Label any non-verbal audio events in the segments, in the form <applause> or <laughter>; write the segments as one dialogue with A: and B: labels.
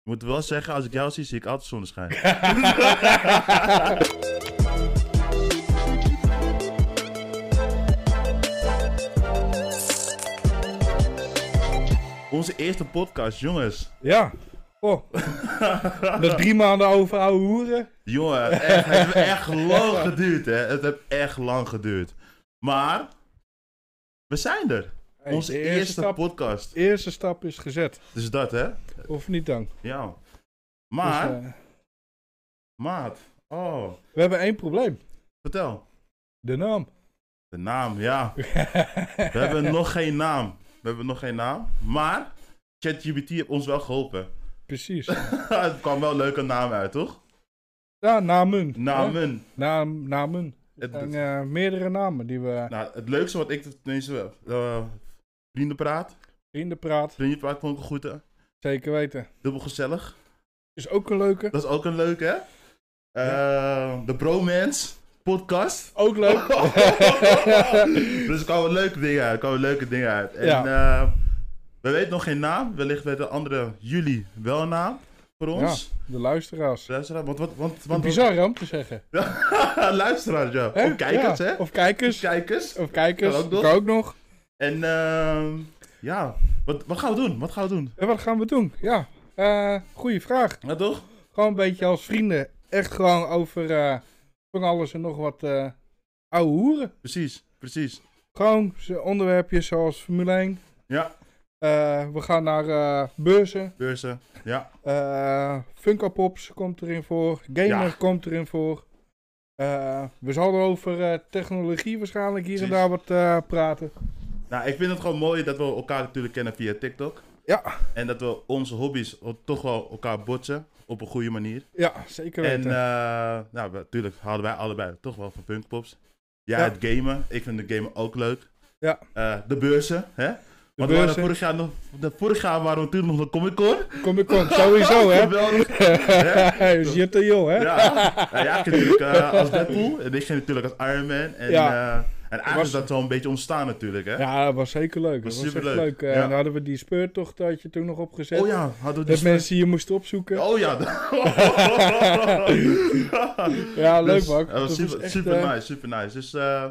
A: Ik moet wel zeggen, als ik jou zie, zie ik altijd
B: <laughs>
A: zonneschijn. Onze eerste podcast, jongens.
B: Ja.
A: <laughs>
B: Oh. Dat drie maanden over ouwe hoeren.
A: Jongen, echt, het heeft echt lang geduurd, hè. Het heeft echt lang geduurd. Maar, we zijn er.
B: Hey,
A: Onze
B: de
A: eerste,
B: stap,
A: podcast.
B: eerste stap is gezet.
A: Dus dat, hè.
B: Of niet dan? Dus,
A: Ja. Maar,
B: eh,
A: maat. Oh,
B: we hebben één probleem.
A: vertel.
B: De naam.
A: De naam, ja. We hebben nog geen naam. We hebben nog geen naam. Maar ChatGPT heeft ons wel geholpen. <laughs>
B: Precies.
A: het kwam wel een leuke naam uit, toch?
B: Ja, namen. Hè?
A: Namen.
B: Naam, namen.
A: Het,
B: En eh, meerdere namen die we
A: nou, het leukste wat ik tenminste... eh vriendenpraat.
B: vrienden praat.
A: Vriendenpraat vond ik groeten.
B: Zeker weten.
A: Dubbel gezellig.
B: Is ook een leuke.
A: Dat is ook een leuke, hè? Eh, de Bromance
B: <laughs>
A: podcast.
B: Ook leuk.
A: dus er kwamen leuke dingen uit. Er kwamen leuke dingen uit. En
B: Ja.
A: eh, we weten nog geen naam. Wellicht weten anderen jullie wel een naam voor <laughs> ons.
B: De luisteraars.
A: Luisteraar, want, want, want, want
B: Bizar hè, om te zeggen.
A: luisteraars, <laughs> ja.
B: Hè?
A: Of kijkers,
B: Ja.
A: hè?
B: Of kijkers.
A: Kijkers.
B: Of kijkers.
A: Kan ook nog.
B: Kan ook nog.
A: En ehm ja, wat, wat gaan we doen? Wat gaan we doen?
B: En wat gaan we doen? Ja. Eh goeie vraag.
A: Ja, toch?
B: Gewoon een beetje als vrienden. Echt gewoon over eh, van alles en nog wat eh ouwe hoeren.
A: Precies, precies.
B: Gewoon z- onderwerpjes zoals Formule 1.
A: Ja.
B: Eh, we gaan naar eh, beurzen.
A: Beurzen. Ja,
B: Eh Funko Pops komt erin voor. Gamer
A: Ja.
B: komt erin voor. Eh, we zullen over eh, technologie waarschijnlijk hier en
A: Precies.
B: daar wat eh, praten.
A: Nou, ik vind het gewoon mooi dat we elkaar natuurlijk kennen via TikTok.
B: Ja.
A: En dat we onze hobby's o- toch wel elkaar botsen op een goede manier.
B: Ja, zeker
A: En
B: weten.
A: eh, nou, we- natuurlijk houden wij allebei toch wel van punkpops. Ja,
B: Ja.
A: het gamen. Ik vind de gamen ook leuk.
B: Ja.
A: Eh, de beurzen, hè? Want we waren
B: beurzen.
A: vorig jaar nog, de vorig jaar waren we toen nog de Comic Con.
B: Kom ik kom,
A: <laughs>
B: sowieso hè.
A: Geweldig.
B: <laughs> Dus je te jong hè.
A: Ja, nou ja, ik ging natuurlijk eh, als Deadpool en ik ging natuurlijk als Iron Man. En,
B: Ja.
A: eh, en eigenlijk
B: Was-
A: is dat wel een beetje ontstaan natuurlijk, hè?
B: Ja, dat was zeker leuk.
A: Was
B: Dat was echt
A: superleuk,
B: leuk. Eh,
A: ja.
B: en dan hadden we die speurtocht had je toen nog opgezet.
A: Oh ja, hadden we
B: Dat
A: die...
B: mensen je moesten opzoeken.
A: <laughs> Oh
B: <laughs>
A: ja.
B: Ja, leuk
A: Dus,
B: man.
A: dat was super, super
B: eh,
A: nice, super nice. Dus, eh,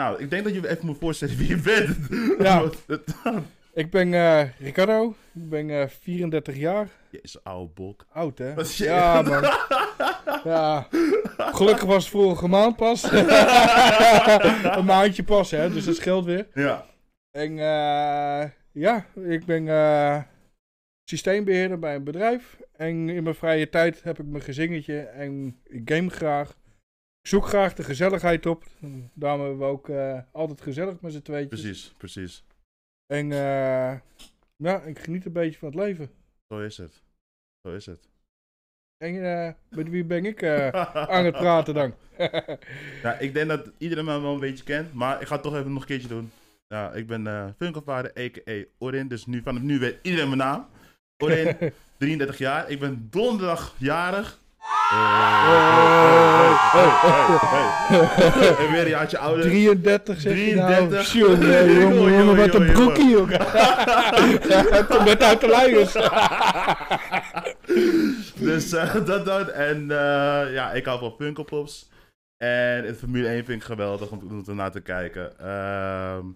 A: nou, ik denk dat je even moet voorstellen wie je bent.
B: <laughs>
A: <laughs>
B: Ja.
A: Want het-
B: Ik ben eh, Ricardo. Ik ben eh, 34 jaar.
A: Jezus, oude bok.
B: Oud hè?
A: Wat shit.
B: Ja man.
A: <laughs>
B: <laughs> Ja. Gelukkig was het vorige maand pas.
A: <laughs>
B: <laughs> Een maandje pas hè, dus dat scheelt weer.
A: Ja,
B: En eh, ja, ik ben eh, systeembeheerder bij een bedrijf. En in mijn vrije tijd heb ik mijn gezingetje en ik game graag. Ik zoek graag de gezelligheid op. Daarom hebben we ook eh, altijd gezellig met z'n tweetjes.
A: precies, precies.
B: En eh, ja, ik geniet een beetje van het leven.
A: Zo is het. Zo is het.
B: En eh, met wie ben ik eh, aan het praten dan?
A: Ja, ik denk dat iedereen mij wel een beetje kent, maar ik ga het toch even nog een keertje doen. Ja, ik ben eh Funkelvader, a.k.a. Orin, dus nu, vanaf nu weet iedereen mijn naam. Orin,
B: <laughs>
A: 33 jaar, ik ben donderdag jarig.
B: <laughs>
A: En weer een jaartje ouder.
B: 33 zeg je nou.
A: 33.
B: Tjonge,
A: Jongen,
B: jongen, jongen, wat een
A: jongen,
B: broekie, <laughs> jongen. Met uit de luiers.
A: Dus eh, <laughs> dat dan. En eh, ja, ik hou van Funkelpops. En het Formule 1 vind ik geweldig om, om ernaar te kijken. Ehm
B: En,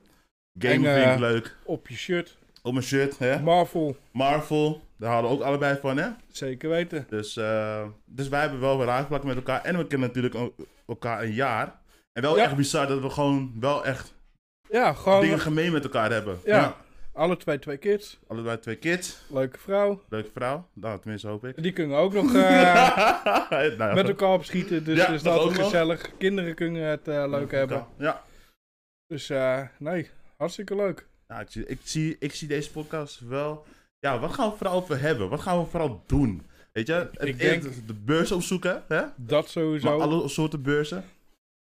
A: game
B: eh,
A: vind ik leuk.
B: Op je shirt.
A: Op mijn shirt, hè.
B: Marvel.
A: Marvel, daar houden we ook allebei van, hè.
B: Zeker weten.
A: Dus, eh, dus wij hebben wel weer raakvlakken met elkaar. En we kennen natuurlijk el- elkaar een jaar. En wel
B: Ja.
A: echt bizar dat we gewoon wel echt
B: Ja, gewoon eh,
A: dingen gemeen met elkaar hebben.
B: Ja. alle twee twee kids.
A: Allebei twee kids.
B: Leuke vrouw.
A: Leuke vrouw. Nou, tenminste
B: <laughs>
A: hoop ik. <laughs>
B: Die kunnen ook nog eh,
A: Nou,
B: met elkaar opschieten. Dus
A: Ja,
B: dat is
A: dat
B: dat
A: ook nog.
B: gezellig. Kinderen kunnen het eh, leuk hebben.
A: Ja.
B: Dus eh, nee, hartstikke leuk.
A: Nou, ik, zie, ik, zie, ik zie deze podcast wel... Ja, wat gaan we vooral over hebben? Wat gaan we vooral doen? Weet je, het,
B: Ik denk-
A: eerst de beurs opzoeken, hè?
B: Dat
A: Maar
B: sowieso.
A: alle soorten beurzen.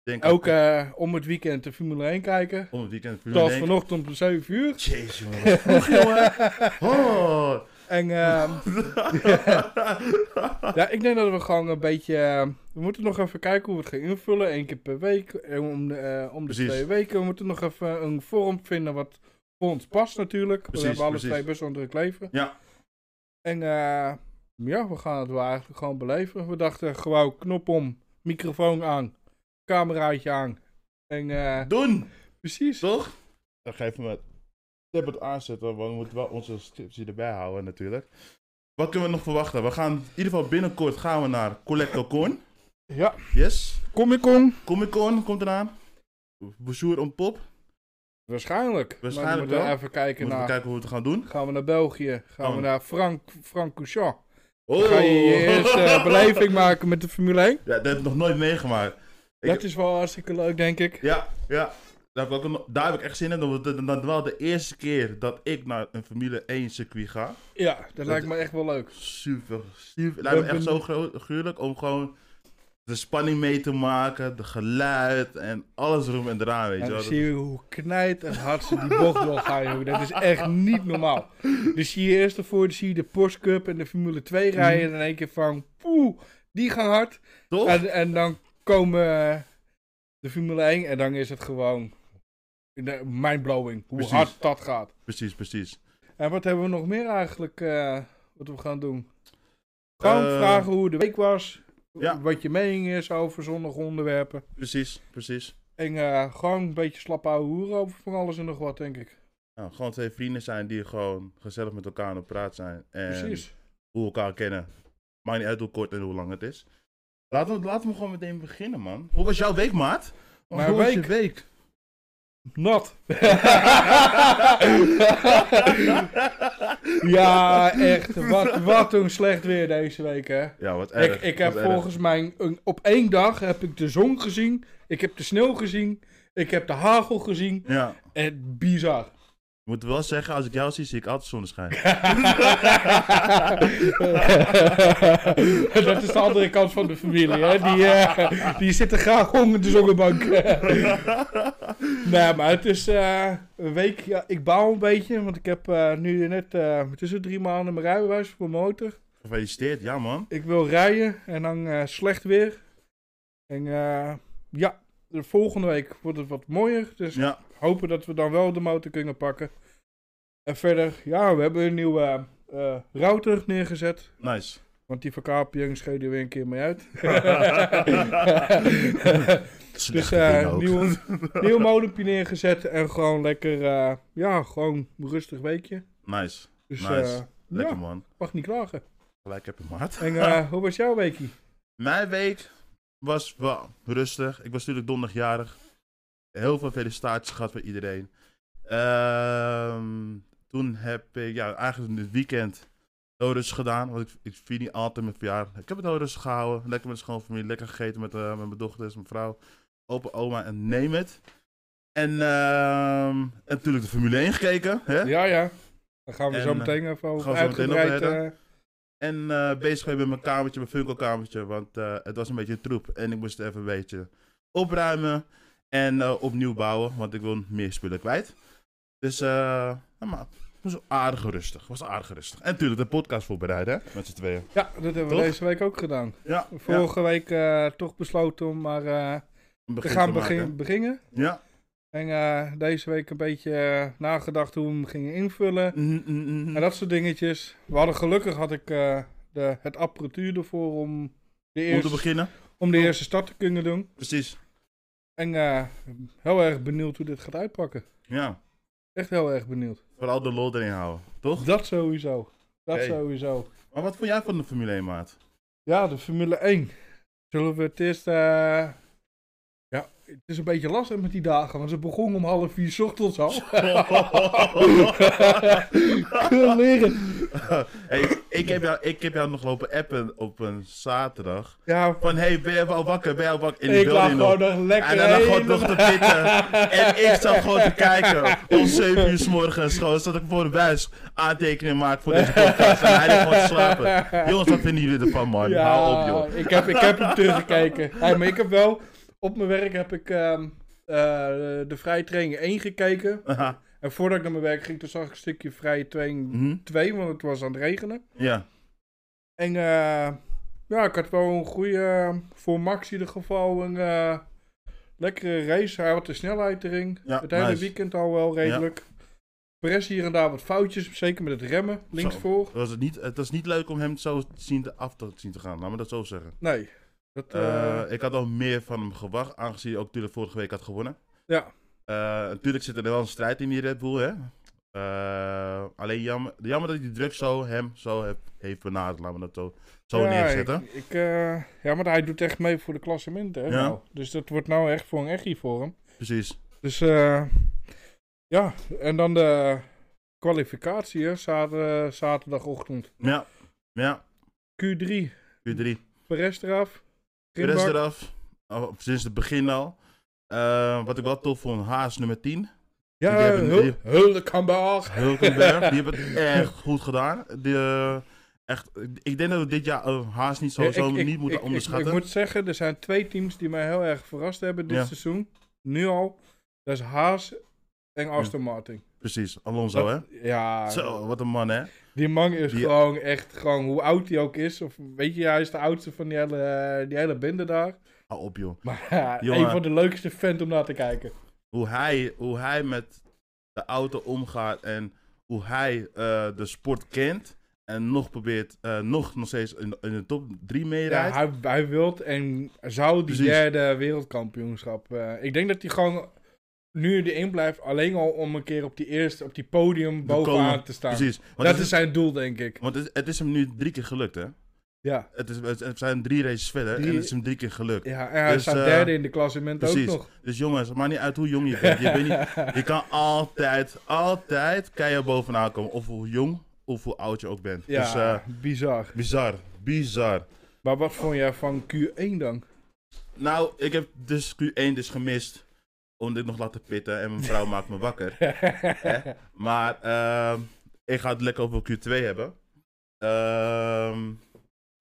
A: Ik Denk
B: Ook eh, om het weekend de Formule 1 kijken.
A: om het weekend.
B: Tot vanochtend om 7 uur.
A: Jezus, jongen. wat Vroeg,
B: <laughs>
A: jongen. Oh.
B: En ehm, ja, ik denk dat we gewoon een beetje... ehm, we moeten nog even kijken hoe we het gaan invullen. Eén keer per week. En om de, eh, om de
A: Precies.
B: twee weken. We moeten nog even een vorm vinden wat voor ons past natuurlijk.
A: Precies,
B: we hebben alle
A: precies.
B: twee best wel een druk leven.
A: Ja.
B: En eh, Ja, we gaan het wel eigenlijk gewoon beleven. We dachten gewoon knop om, microfoon aan, cameraatje aan. En eh,
A: Doen!
B: precies.
A: Toch? Dan geef me het. Tip het aanzetten, want we moeten wel onze tipsy erbij houden natuurlijk. Wat kunnen we nog verwachten? We gaan in ieder geval binnenkort gaan we naar Collecto Con.
B: Ja,
A: Yes.
B: Comic Con.
A: Comic Con komt eraan. Bezoer om pop.
B: Waarschijnlijk.
A: Waarschijnlijk
B: maar we moeten
A: wel.
B: even kijken
A: Moeten we
B: naar...
A: kijken Oh. hoe we het gaan doen.
B: Gaan we naar België? Gaan
A: Gaan
B: we
A: we-
B: naar Frank, Francochamp?
A: Oh.
B: Dan ga je je eerste
A: <laughs>
B: beleving maken met de Formule 1.
A: Ja, dat heb ik nog nooit meegemaakt. Ik-
B: Dat is wel hartstikke leuk, denk ik.
A: Ja, ja. Daar heb ik, ook, een- daar heb ik echt zin in. omdat het dan wel de eerste keer dat ik naar een Formule 1 circuit ga.
B: Ja, dat, lijkt me echt wel leuk.
A: Super, super. Lijkt me
B: ben
A: echt zo gro- gruwelijk om gewoon de spanning mee te maken, de geluid en alles erom en eraan, weet
B: En
A: je wel.
B: dan
A: Dat-
B: zie je hoe knijt en hard ze die bocht wil gaan, jongen. Dat is echt niet normaal. Dus zie je eerst ervoor, dan zie je de Porsche Cup en de Formule
A: Mhm.
B: 2 rijden. En in één keer van, poeh, die gaan hard.
A: Toch?
B: En, en dan komen eh, de Formule 1 en dan is het gewoon de- mindblowing. Hoe
A: Precies.
B: hard dat gaat.
A: Precies, precies.
B: En wat hebben we nog meer eigenlijk, eh, wat we gaan doen? Gewoon
A: Eh,
B: vragen hoe de week was.
A: ja.
B: Wat je mening is over zondige onderwerpen.
A: Precies, precies.
B: En eh, gewoon een beetje slap ouwe hoeren over van alles en nog wat, denk ik.
A: Nou, gewoon twee vrienden zijn die gewoon gezellig met elkaar aan het praat zijn. En
B: Precies.
A: hoe we elkaar kennen. Maakt niet uit hoe kort en hoe lang het is. Laten we, laten we gewoon meteen beginnen, man. Hoe was jouw week, maat?
B: <laughs> Mijn
A: hoe was
B: week?
A: je week? <laughs>
B: Nat. <laughs> ja, echt. Wat, wat een slecht weer deze week, hè.
A: Ja, wat erg.
B: Ik, ik
A: wat
B: heb
A: erg.
B: volgens mij een, op één dag heb ik de zon gezien. Ik heb de sneeuw gezien. Ik heb de hagel gezien.
A: Ja,
B: En bizar.
A: ik moet wel zeggen, als ik jou zie, zie ik altijd zonneschijn.
B: <laughs> dat is de andere kant van de familie, hè? Die, eh, die zitten graag onder de zonnebank. <laughs> nee, maar het is eh, een week. Ja, ik baal een beetje, want ik heb eh, nu net eh, tussen drie maanden mijn rijbewijs voor mijn motor.
A: Gefeliciteerd, ja, man.
B: Ik wil rijden en dan eh, slecht weer. En eh, ja, de volgende week wordt het wat mooier. Dus
A: Ja,
B: hopen dat we dan wel de motor kunnen pakken. En verder, ja, we hebben een nieuwe eh, eh, router neergezet.
A: nice.
B: <laughs> Want die verkaping scheelde weer een keer mee
A: <laughs>
B: uit. dus
A: Slechte dingen
B: eh
A: ook.
B: nieuw, nieuw modempje neergezet en gewoon lekker, eh, ja, gewoon een rustig weekje.
A: Nice.
B: Dus
A: Nice.
B: eh,
A: Lekker,
B: ja,
A: man.
B: mag niet klagen.
A: Gelijk heb je, maat.
B: En eh, hoe was jouw weekje?
A: Mijn week was wel rustig. Ik was natuurlijk donderdagjarig. Heel veel felicitaties gehad voor iedereen. Ehm, toen heb ik ja, eigenlijk in het weekend heel rustig gedaan. Want ik, ik vier niet altijd mijn verjaardag. Ik heb het heel rustig gehouden. Lekker met de schoonfamilie. Lekker gegeten met, eh, met mijn dochters, mijn vrouw. Opa, oma en neem het. En, ehm, en natuurlijk de Formule 1 gekeken. Hè?
B: Ja, ja. Daar gaan we
A: En, eh,
B: zo meteen even
A: gaan
B: over
A: we zo meteen
B: uitgebreid.
A: over
B: eh,
A: En eh, bezig geweest met mijn kamertje, mijn funkelkamertje, want eh, het was een beetje troep. En ik moest het even een beetje opruimen en eh, opnieuw bouwen, want ik wil meer spullen kwijt. Dus, eh, ja, maar het was aardig rustig, was aardig rustig. En natuurlijk de podcast voorbereiden, hè, met z'n tweeën.
B: ja, dat hebben we
A: Toch?
B: deze week ook gedaan.
A: Ja,
B: Vorige week eh, toch besloten om maar eh, te gaan begin,
A: beginnen.
B: beginnen.
A: Ja.
B: En eh, deze week een beetje eh, nagedacht hoe we hem gingen invullen.
A: Mm, mm, mm, mm.
B: En dat soort dingetjes. We hadden gelukkig had ik eh, de, het apparatuur ervoor om de,
A: Om te
B: eerste,
A: beginnen,
B: om de eerste start te kunnen doen.
A: precies.
B: En eh, heel erg benieuwd hoe dit gaat uitpakken.
A: Ja,
B: Echt heel erg benieuwd.
A: vooral de lol erin houden, toch?
B: Dat sowieso. Dat
A: Hey.
B: sowieso.
A: Maar wat vond jij van de Formule 1, maat? <laughs>
B: Ja, de Formule 1. Zullen we het eerst... eh, Ja, het is een beetje lastig met die dagen, want ze begon om half vier 's ochtends al. <laughs> Leren.
A: Hey, ik, heb jou, ik heb jou nog lopen appen op een zaterdag.
B: Ja,
A: Van hey, ben je al wakker? Ben je al wakker? En die
B: ik
A: wilde
B: lag
A: je nog.
B: gewoon nog lekker
A: En dan lag gewoon
B: helemaal-
A: nog te pitten. En ik zat
B: <laughs>
A: gewoon te kijken. Om 7 uur s morgens gewoon zat ik voor de buis aantekeningen maak voor deze podcast. En hij lag gewoon te slapen. Jongens, wat vinden jullie ervan, man? Hou op, joh.
B: Ik heb, ik heb hem teruggekeken. Hey, maar ik heb wel, op mijn werk heb ik ehm, eh, de vrije training 1 gekeken.
A: Haha,
B: En voordat ik naar mijn werk ging, toen zag ik een stukje vrije
A: <laughs>
B: training
A: mhm.
B: 2, want het was aan het regenen.
A: Ja,
B: En eh, ja, ik had wel een goede, eh, voor Max in ieder geval, een eh, lekkere race. Hij had de snelheid erin.
A: Ja,
B: het hele
A: nice.
B: weekend al wel redelijk. Perez hier en daar wat foutjes, zeker met het remmen, linksvoor.
A: Was het, niet, het was niet leuk om hem zo te zien te af te zien te gaan, laat me dat zo zeggen.
B: Nee. Dat, eh,
A: Eh, ik had al meer van hem gewacht, aangezien hij ook natuurlijk vorige week had gewonnen.
B: ja,
A: Eh, natuurlijk zit er wel een strijd in die Red Bull, hè. Eh, alleen jammer, jammer dat die druk zo hem zo heb, heeft benaderd, laten we dat zo, zo
B: ja,
A: neerzetten.
B: Ik, ik, eh, ja, maar hij doet echt mee voor de klassementen. Hè,
A: Ja.
B: nou. Dus dat wordt nou echt voor een echt voor hem.
A: Precies.
B: Dus eh, ja, en dan de kwalificatie hè, zater- zaterdagochtend.
A: Ja, ja,
B: Q3,
A: Q3.
B: Perez eraf.
A: De rest
B: Grindbak.
A: eraf, al- sinds het begin al. Eh, wat ik wel tof vond, Haas nummer 10.
B: Ja,
A: Die hebben-
B: Hul- Hulkenberg. <laughs>
A: Hulkenberg, die hebben het echt goed gedaan. Die, eh, echt, ik denk dat we dit jaar eh, Haas niet sowieso
B: Ik- ik-
A: niet moeten
B: ik- ik-
A: onderschatten.
B: Ik, moet zeggen, er zijn twee teams die mij heel erg verrast hebben dit
A: Ja.
B: seizoen. Nu al. Dat is Haas en Aston Martin.
A: Precies, Alonso hè.
B: Ja,
A: Zo, wat een man hè.
B: die man is
A: Die-
B: gewoon echt, gewoon, hoe oud hij ook is. Of, weet je, hij is de oudste van die hele, die hele bende daar.
A: Hou op joh.
B: Maar ja,
A: Jongen.
B: een van de leukste fans om naar te kijken.
A: Hoe hij, hoe hij met de auto omgaat en hoe hij eh, de sport kent. En nog probeert, eh, nog, nog steeds in, in de top 3
B: Ja,
A: meerijdt.
B: hij, hij wil en zou die
A: Precies.
B: derde wereldkampioenschap. eh, ik denk dat hij gewoon nu erin blijft, alleen al om een keer op die eerste, op die podium bovenaan
A: komen.
B: te staan.
A: Precies. Want,
B: Dat
A: het,
B: is
A: is,
B: zijn doel, denk ik.
A: want het, is- het is hem nu drie keer gelukt hè.
B: Ja,
A: Het, is, het zijn drie races verder
B: Drie-
A: en het is hem drie keer gelukt.
B: ja en hij
A: Dus,
B: staat
A: eh,
B: derde in de klassement
A: Precies.
B: ook nog.
A: Dus jongens, het maakt niet uit hoe jong je bent. Je, bent
B: <laughs>
A: niet, je kan altijd, altijd kan je bovenaan komen. Of hoe jong of hoe oud je ook bent.
B: Ja,
A: Dus eh,
B: bizar.
A: bizar, bizar.
B: Maar wat vond jij van Q1 dan?
A: Nou, ik heb dus Q1 dus gemist. Omdat ik nog laat te pitten en mijn vrouw <laughs> maakt me wakker.
B: <laughs>
A: Hè? Maar ehm, ik ga het lekker over Q2 hebben. Ehm,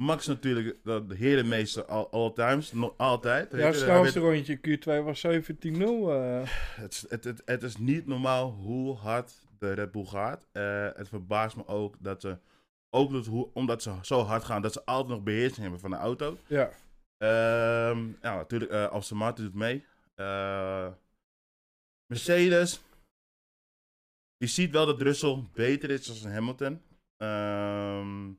A: Max natuurlijk, de de herenmeester all, all times, nog altijd.
B: Ja,
A: Weet
B: het
A: je, hij eh, weet-
B: snelste rondje Q2 was 17-0. eh.
A: Het, is- het, het, het is niet normaal hoe hard de Red Bull gaat. Eh, het verbaast me ook dat ze, ook dat hoe, omdat ze zo hard gaan, dat ze altijd nog beheersing hebben van de auto.
B: ja.
A: Ehm ja, natuurlijk, eh Aston Martin doet mee. Eh, Mercedes. Je ziet wel dat Russell beter is dan Hamilton. Ehm,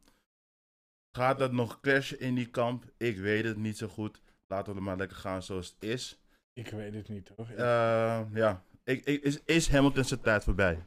A: gaat dat nog crashen in die kamp? Ik weet het niet zo goed. Laten we er maar lekker gaan zoals het is.
B: Ik weet het niet hoor.
A: Eh, ja, ik, ik, is, is Hamilton zijn tijd voorbij?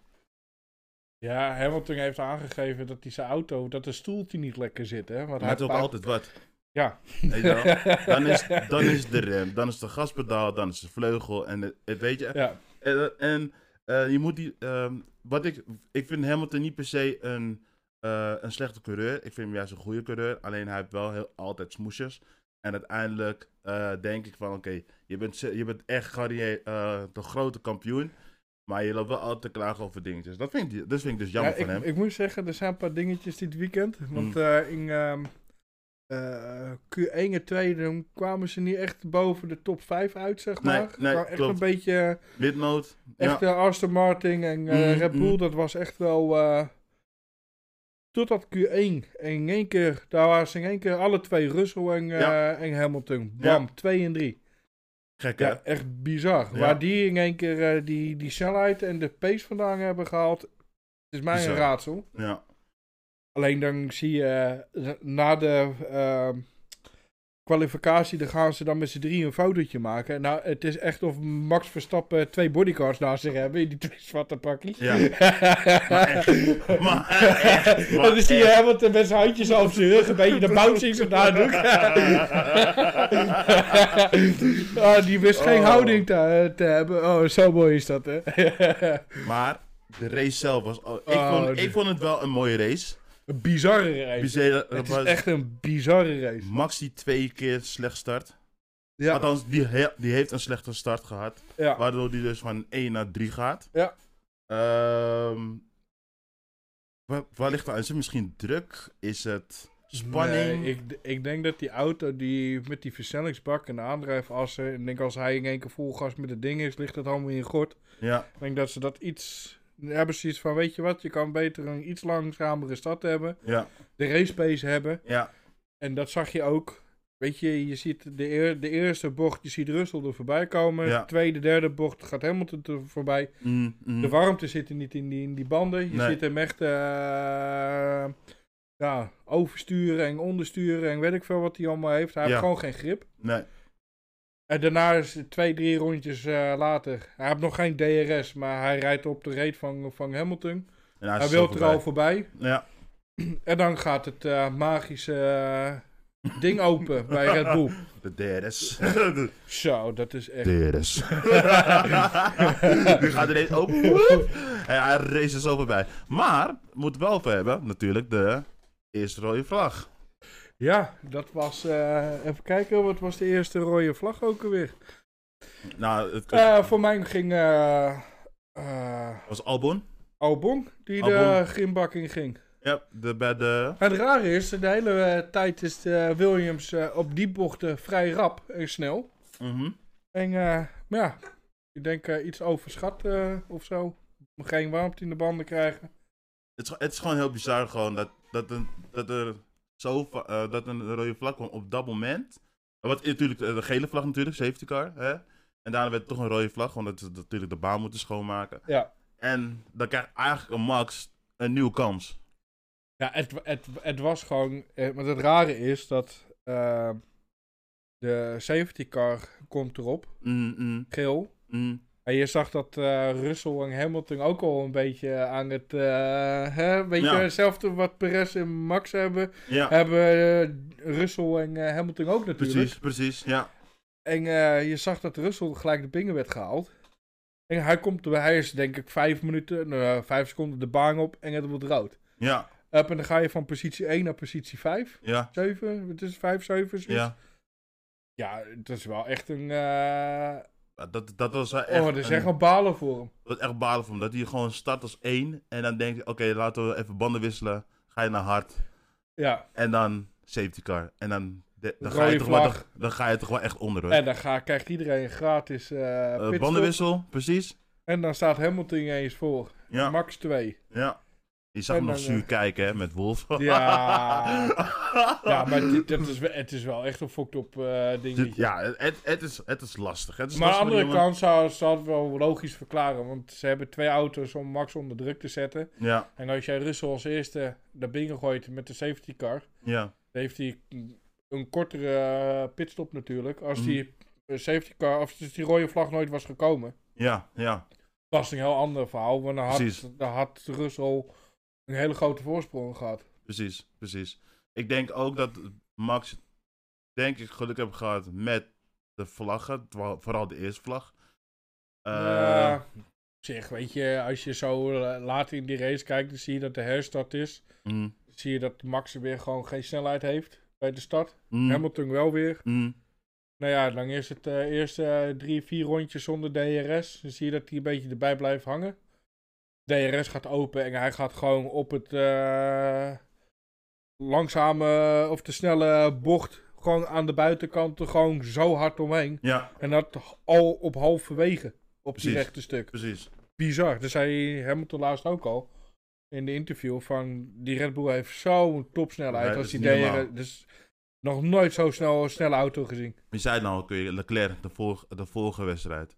B: Ja, Hamilton heeft aangegeven dat hij zijn auto, dat de stoeltje niet lekker zit. Hè? Want
A: Maar het is ook
B: pakt-
A: altijd wat.
B: Ja.
A: Weet je
B: <laughs>
A: wel? <laughs> Dan is, dan is de rem, dan is de gaspedaal, dan is de vleugel en het, het- weet je.
B: Ja,
A: En, en, eh, je moet die, ehm, wat ik, ik vind Hamilton niet per se een, eh, een slechte coureur. Ik vind hem juist een goede coureur. Alleen hij heeft wel heel, altijd smoesjes. En uiteindelijk eh, denk ik van, oké, je, bent, ze- je bent echt Garnier, eh, de grote kampioen. Maar je loopt wel altijd te klagen over dingetjes. Dat vind ik, dat vind ik dus jammer
B: ja
A: van
B: ik,
A: hem. Hmm.
B: ik moet zeggen, er zijn een paar dingetjes dit weekend. Want eh, in ehm, eh, Q1 en 2 dan kwamen ze niet echt boven de top 5 uit, zeg
A: Nee,
B: maar.
A: nee,
B: Kwam echt
A: klopt.
B: een beetje,
A: Witnoot.
B: echt eh, Aston Martin en eh,
A: Mhm,
B: Red Bull,
A: mhm.
B: dat was echt wel... eh, totdat Q1 en in één keer, daar waren ze in één keer alle twee, Russell en, eh,
A: Ja.
B: en Hamilton.
A: Ja.
B: Bam, 2 en 3.
A: Gek, hè?
B: Ja, echt bizar.
A: Ja.
B: Waar die in één keer eh, die, die snelheid en de pace vandaan hebben gehaald, is mij
A: Bizar.
B: een raadsel.
A: Ja.
B: Alleen dan zie je eh, na de ehm, kwalificatie, dan gaan ze dan met z'n drie een fotootje maken. Nou, het is echt of Max Verstappen twee bodyguards naast zich hebben in die twee zwarte pakjes. <laughs>
A: Ja. Maar echt. Maar echt. Maar
B: dan zie je
A: echt.
B: Hamilton met zijn handjes op zijn rug, een beetje de bouncing zo <laughs> nadoen. ah, die wist geen
A: Oh.
B: houding te, te hebben. Oh, zo mooi is dat, hè? <laughs>
A: Maar de race zelf was... al- ik,
B: Oh,
A: vond,
B: die-
A: ik vond het wel een mooie race.
B: een bizarre race.
A: Bizar-
B: het is
A: was-
B: echt een bizarre race.
A: Max die twee keer slecht start.
B: Ja,
A: Althans, die, he- die heeft een slechte start gehad.
B: ja.
A: Waardoor die dus van 1 naar 3 gaat.
B: Ja.
A: Ehm, waar, waar ligt het aan? Is het misschien druk? Is het spanning?
B: Nee, ik, ik denk dat die auto die met die versnellingsbak en de aandrijfassen. En ik denk als hij in één keer vol gas met het ding is, ligt dat allemaal in gort.
A: Ja,
B: Ik denk dat ze dat iets. Hebben ze iets van: weet je wat, je kan beter een iets langzamere stad hebben.
A: ja,
B: De race pace hebben.
A: ja.
B: En dat zag je ook. Weet je, je ziet de, eer- de eerste bocht, je ziet Russell er voorbij komen.
A: Ja.
B: De tweede, derde bocht gaat Hamilton er voorbij.
A: Mm, mm.
B: De warmte zit er niet in die, in die banden. Je
A: Nee.
B: ziet hem echt eh, ja, oversturen en ondersturen en weet ik veel wat hij allemaal heeft. Hij
A: Ja.
B: heeft gewoon geen grip.
A: Nee,
B: En daarna is het twee, drie rondjes eh, later. Hij heeft nog geen DRS, maar hij rijdt op de reet van, van Hamilton.
A: en hij
B: hij
A: is
B: wil
A: zo
B: er al voorbij.
A: voorbij. Ja.
B: En dan gaat het eh, magische eh, ding open
A: <laughs>
B: bij Red Bull.
A: De DRS.
B: Zo, dat is echt...
A: DRS. <laughs> nu gaat er ineens open. En hij race er zo voorbij. Maar, moet wel over hebben, natuurlijk, de eerste rode vlag.
B: Ja, dat was... eh, even kijken, wat was de eerste rode vlag ook alweer?
A: Nou, het, het
B: Eh, voor mij ging... eh, eh,
A: was Albon.
B: Albon, die de
A: Albon.
B: grimbak in ging.
A: Ja, de, bij de...
B: En het rare is, de hele eh, tijd is eh, Williams eh, op die bochten vrij rap en snel.
A: Mhm.
B: En eh, maar ja, ik denk eh, iets overschat eh, of zo. Geen warmte in de banden krijgen.
A: Het, is, het is gewoon heel bizar gewoon dat, dat, een, dat er zo va- eh, dat een rode vlag kwam op dat moment. Wat natuurlijk eh, de de gele vlag natuurlijk, safety car. Hè? En daarna werd het toch een rode vlag, want ze natuurlijk de baan moeten schoonmaken.
B: Ja.
A: En dan krijgt eigenlijk een Max een nieuwe kans.
B: Ja, het, het, het was gewoon... eh, want het rare is dat eh, de safety car komt erop,
A: Mm, mm,
B: geel.
A: mm.
B: En je zag dat eh, Russell en Hamilton ook al een beetje aan het... eh hè, weet
A: Ja.
B: je, hetzelfde wat Perez en Max hebben.
A: Ja,
B: hebben eh, Russell en eh, Hamilton ook natuurlijk.
A: precies, precies. Ja.
B: En eh, je zag dat Russell gelijk de bingen werd gehaald. En hij komt erbij, hij is denk ik vijf minuten, nou, ja, vijf seconden de baan op en het wordt rood.
A: Ja,
B: Up, en dan ga je van positie 1 naar positie 5,
A: ja,
B: 7, het is 5, 7,
A: ja.
B: ja, het is wel echt een, eh,
A: Dat, dat was wel echt,
B: oh, dat is
A: een-
B: echt een balen voor hem.
A: dat was echt balen voor hem. Dat hij gewoon start als één. En dan denk je, oké, laten we even banden wisselen. Ga je naar hard.
B: Ja,
A: En dan safety car. En dan, de- dan, ga,
B: Rode
A: je toch wel, dan,
B: vlag.
A: dan ga je toch wel echt onder. hoor.
B: en dan ga, krijgt iedereen een gratis eh,
A: Eh,
B: pitstop.
A: bandenwissel, precies.
B: En dan staat Hamilton eens voor,
A: Ja,
B: max 2.
A: ja. Je zag
B: En
A: hem nog
B: dan,
A: zuur
B: eh,
A: kijken hè, met Wolf. <laughs>
B: Ja. Ja, maar dit, dat is, wel- het is wel echt een fokt op eh dingetje.
A: ja, het, het, is, het is lastig. Het is
B: Maar aan de
A: lastig
B: andere
A: voor die
B: kant zou, zou het wel logisch verklaren. Want ze hebben twee auto's om Max onder druk te zetten.
A: jongen. Ja,
B: En als jij Russell als eerste naar binnen gooit met de safety car.
A: ja,
B: Dan heeft hij een kortere eh, pitstop natuurlijk. Als
A: Mhm.
B: die eh, safety car, of dus die rode vlag nooit was gekomen.
A: ja, ja.
B: Was het een heel ander verhaal. Want dan
A: Precies.
B: had, dan had Russell een hele grote voorsprong gehad.
A: Precies, precies. Ik denk ook dat Max, denk ik, geluk heeft gehad met de vlaggen. twa- Vooral de eerste vlag. Eh,
B: Eh, zeg, weet je, als je zo eh, later in die race kijkt, dan zie je dat de herstart is.
A: mm,
B: zie je dat Max weer gewoon geen snelheid heeft bij de start.
A: mm,
B: Hamilton wel weer.
A: mm.
B: Nou ja, lang is het eh eerste eh, drie, vier rondjes zonder DRS. Dan zie je dat hij een beetje erbij blijft hangen. DRS gaat open en hij gaat gewoon op het eh, langzame of de snelle bocht gewoon aan de buitenkant er gewoon zo hard omheen.
A: Ja,
B: En dat al op halverwege op die
A: Precies.
B: rechte stuk
A: precies.
B: bizar. Dat zei Hamilton laatst ook al. In de interview van die Red Bull heeft zo'n topsnelheid.
A: Ja, dat
B: als
A: is
B: die
A: niet normaal.
B: DR, dus nog nooit zo snel een snelle auto gezien.
A: Wie zei het nou ook weer? Leclerc, de, vor- de vorige wedstrijd.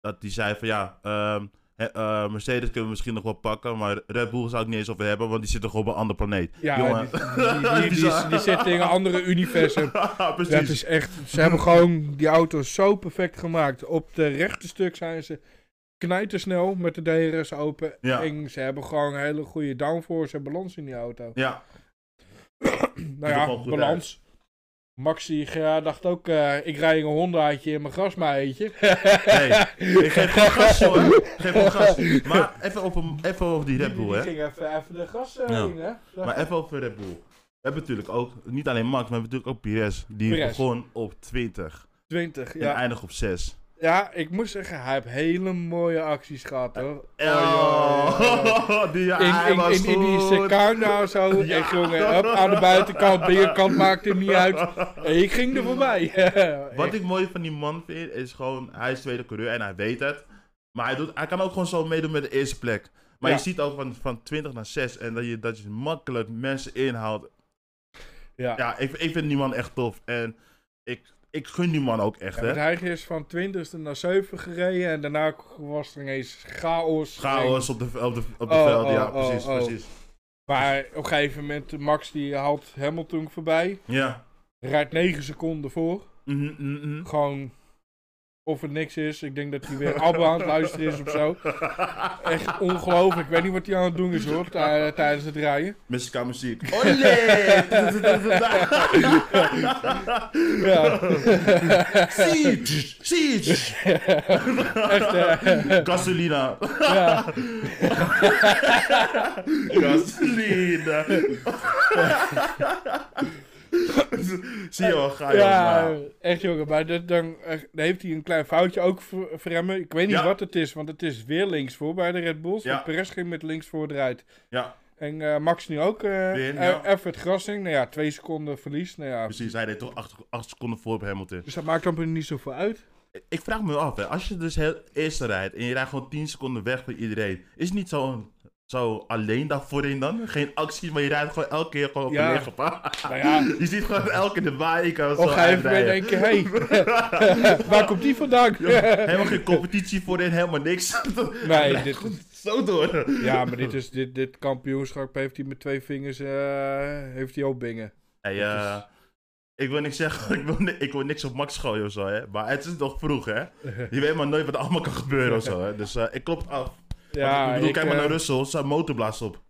A: Dat die zei van ja, ehm, hè, eh, Mercedes kunnen we misschien nog wel pakken, maar Red Bull zou ik niet eens over hebben, want die zitten gewoon op een ander planeet.
B: Ja,
A: Jongen.
B: die, die, die, die,
A: Bizar.
B: die zit in een andere
A: <laughs>
B: universum.
A: Precies.
B: Dat is echt, ze hebben gewoon die auto zo perfect gemaakt. Op de rechte stuk zijn ze knijtersnel met de DRS open.
A: Ja.
B: En ze hebben gewoon een hele goede downforce en balans in die auto.
A: Ja,
B: Nou
A: er gewoon
B: ja,
A: goed
B: balans. Max die eh, dacht ook, eh, ik rij een Hondaatje in mijn grasmaaietje.
A: <laughs> hey, ik geef gewoon gas hoor. Ik Geef gewoon
B: <laughs>
A: gas. Maar even over, even over die Red Bull,
B: Die
A: hè.
B: ging even, even de gas eh,
A: Ja.
B: in, hè.
A: Maar even over Red Bull. We hebben natuurlijk ook, niet alleen Max, maar we hebben natuurlijk ook Pires. Die
B: Perez.
A: begon op 20
B: 20,
A: en
B: ja.
A: eindig op 6.
B: Ja, ik moet zeggen, hij heeft hele mooie acties gehad, hoor.
A: Oh, <laughs>
B: joh.
A: die ja, hij
B: In, in,
A: was
B: in, in die
A: goed.
B: Sakana zo,
A: Ja.
B: echt jongen, up, aan de buitenkant, binnenkant maakt hem niet uit. En ik ging er voorbij. <laughs>
A: Wat ik mooi van die man vind, is gewoon, hij is tweede coureur en hij weet het. Maar hij, doet, hij kan ook gewoon zo meedoen met de eerste plek. Maar
B: Ja.
A: je ziet al van, van 20 naar 6 en dat je, dat je makkelijk mensen inhaalt.
B: Ja.
A: Ja, ik, ik vind die man echt tof. En ik, ik gun die man ook echt,
B: Ja,
A: hè.
B: want hij is van 20ste naar 7 gereden en daarna was er ineens chaos.
A: Chaos op de, op de, op de
B: Oh,
A: veld, ja,
B: oh, oh,
A: precies,
B: oh.
A: precies.
B: Maar op een gegeven moment, Max die haalt Hamilton voorbij.
A: Ja.
B: Rijdt 9 seconden voor.
A: Mhm, mhm, mhm.
B: Gewoon of het niks is. Ik denk dat <laughs> hij
A: <laughs>
B: weer Abba aan het luisteren is of zo. Echt ongelooflijk. Ik weet niet wat hij aan het doen is hoor, tij- tijdens het rijden.
A: Muzika muziek. <laughs> Olé!
B: <laughs> Ja.
A: <laughs> Siege! Siege!
B: Echt, eh,
A: Gasolina.
B: ja.
A: Gasolina. <laughs> Zie je wel, ga je
B: ja,
A: wel.
B: echt jongen. Maar dat, dan, eh, dan heeft hij een klein foutje ook ver- verremmen. Ik weet niet
A: Ja.
B: wat het is, want het is weer linksvoor bij de Red Bulls.
A: Ja.
B: Ja. Perez ging met linksvoor eruit.
A: Ja.
B: En eh, Max nu ook. eh,
A: Weer,
B: e-
A: ja. Dus-
B: Even het gras in. Nou ja, twee seconden verlies. Nou ja.
A: Precies, hij deed toch acht, acht seconden voor op Hamilton.
B: Dus dat maakt dan niet zoveel uit.
A: Ik vraag me af, hè, als je dus heel eerste rijdt en je rijdt gewoon 10 seconden weg van iedereen, is het niet zo, zo alleen daar voorin dan? Geen actie, maar je rijdt gewoon elke keer gewoon op
B: Ja.
A: een lege paard.
B: Nou ja,
A: <laughs>
B: oh,
A: Je ziet gewoon elke keer de baan, ik kan
B: op
A: zo
B: een gegeven moment
A: uitrijden.
B: denk je, hé,
A: <laughs>
B: <laughs> waar komt die vandaan?
A: Helemaal geen competitie voorin, helemaal niks.
B: <laughs>
A: <laughs>
B: nee, dit,
A: zo door.
B: ja, maar dit, is, dit, dit kampioenschap heeft hij met twee vingers, eh, heeft hij ook
A: <laughs>
B: bingen.
A: Hey, eh, ik wil niks zeggen, <laughs> ik wil, ni- ik wil niks op Max gooien of zo, hè. maar het is nog vroeg, hè. Je weet maar nooit wat er allemaal kan gebeuren of zo, hè. Dus eh, ik klop het af.
B: Ja,
A: ik bedoel,
B: ik,
A: kijk maar
B: eh,
A: naar Russell, zijn motor blaast op.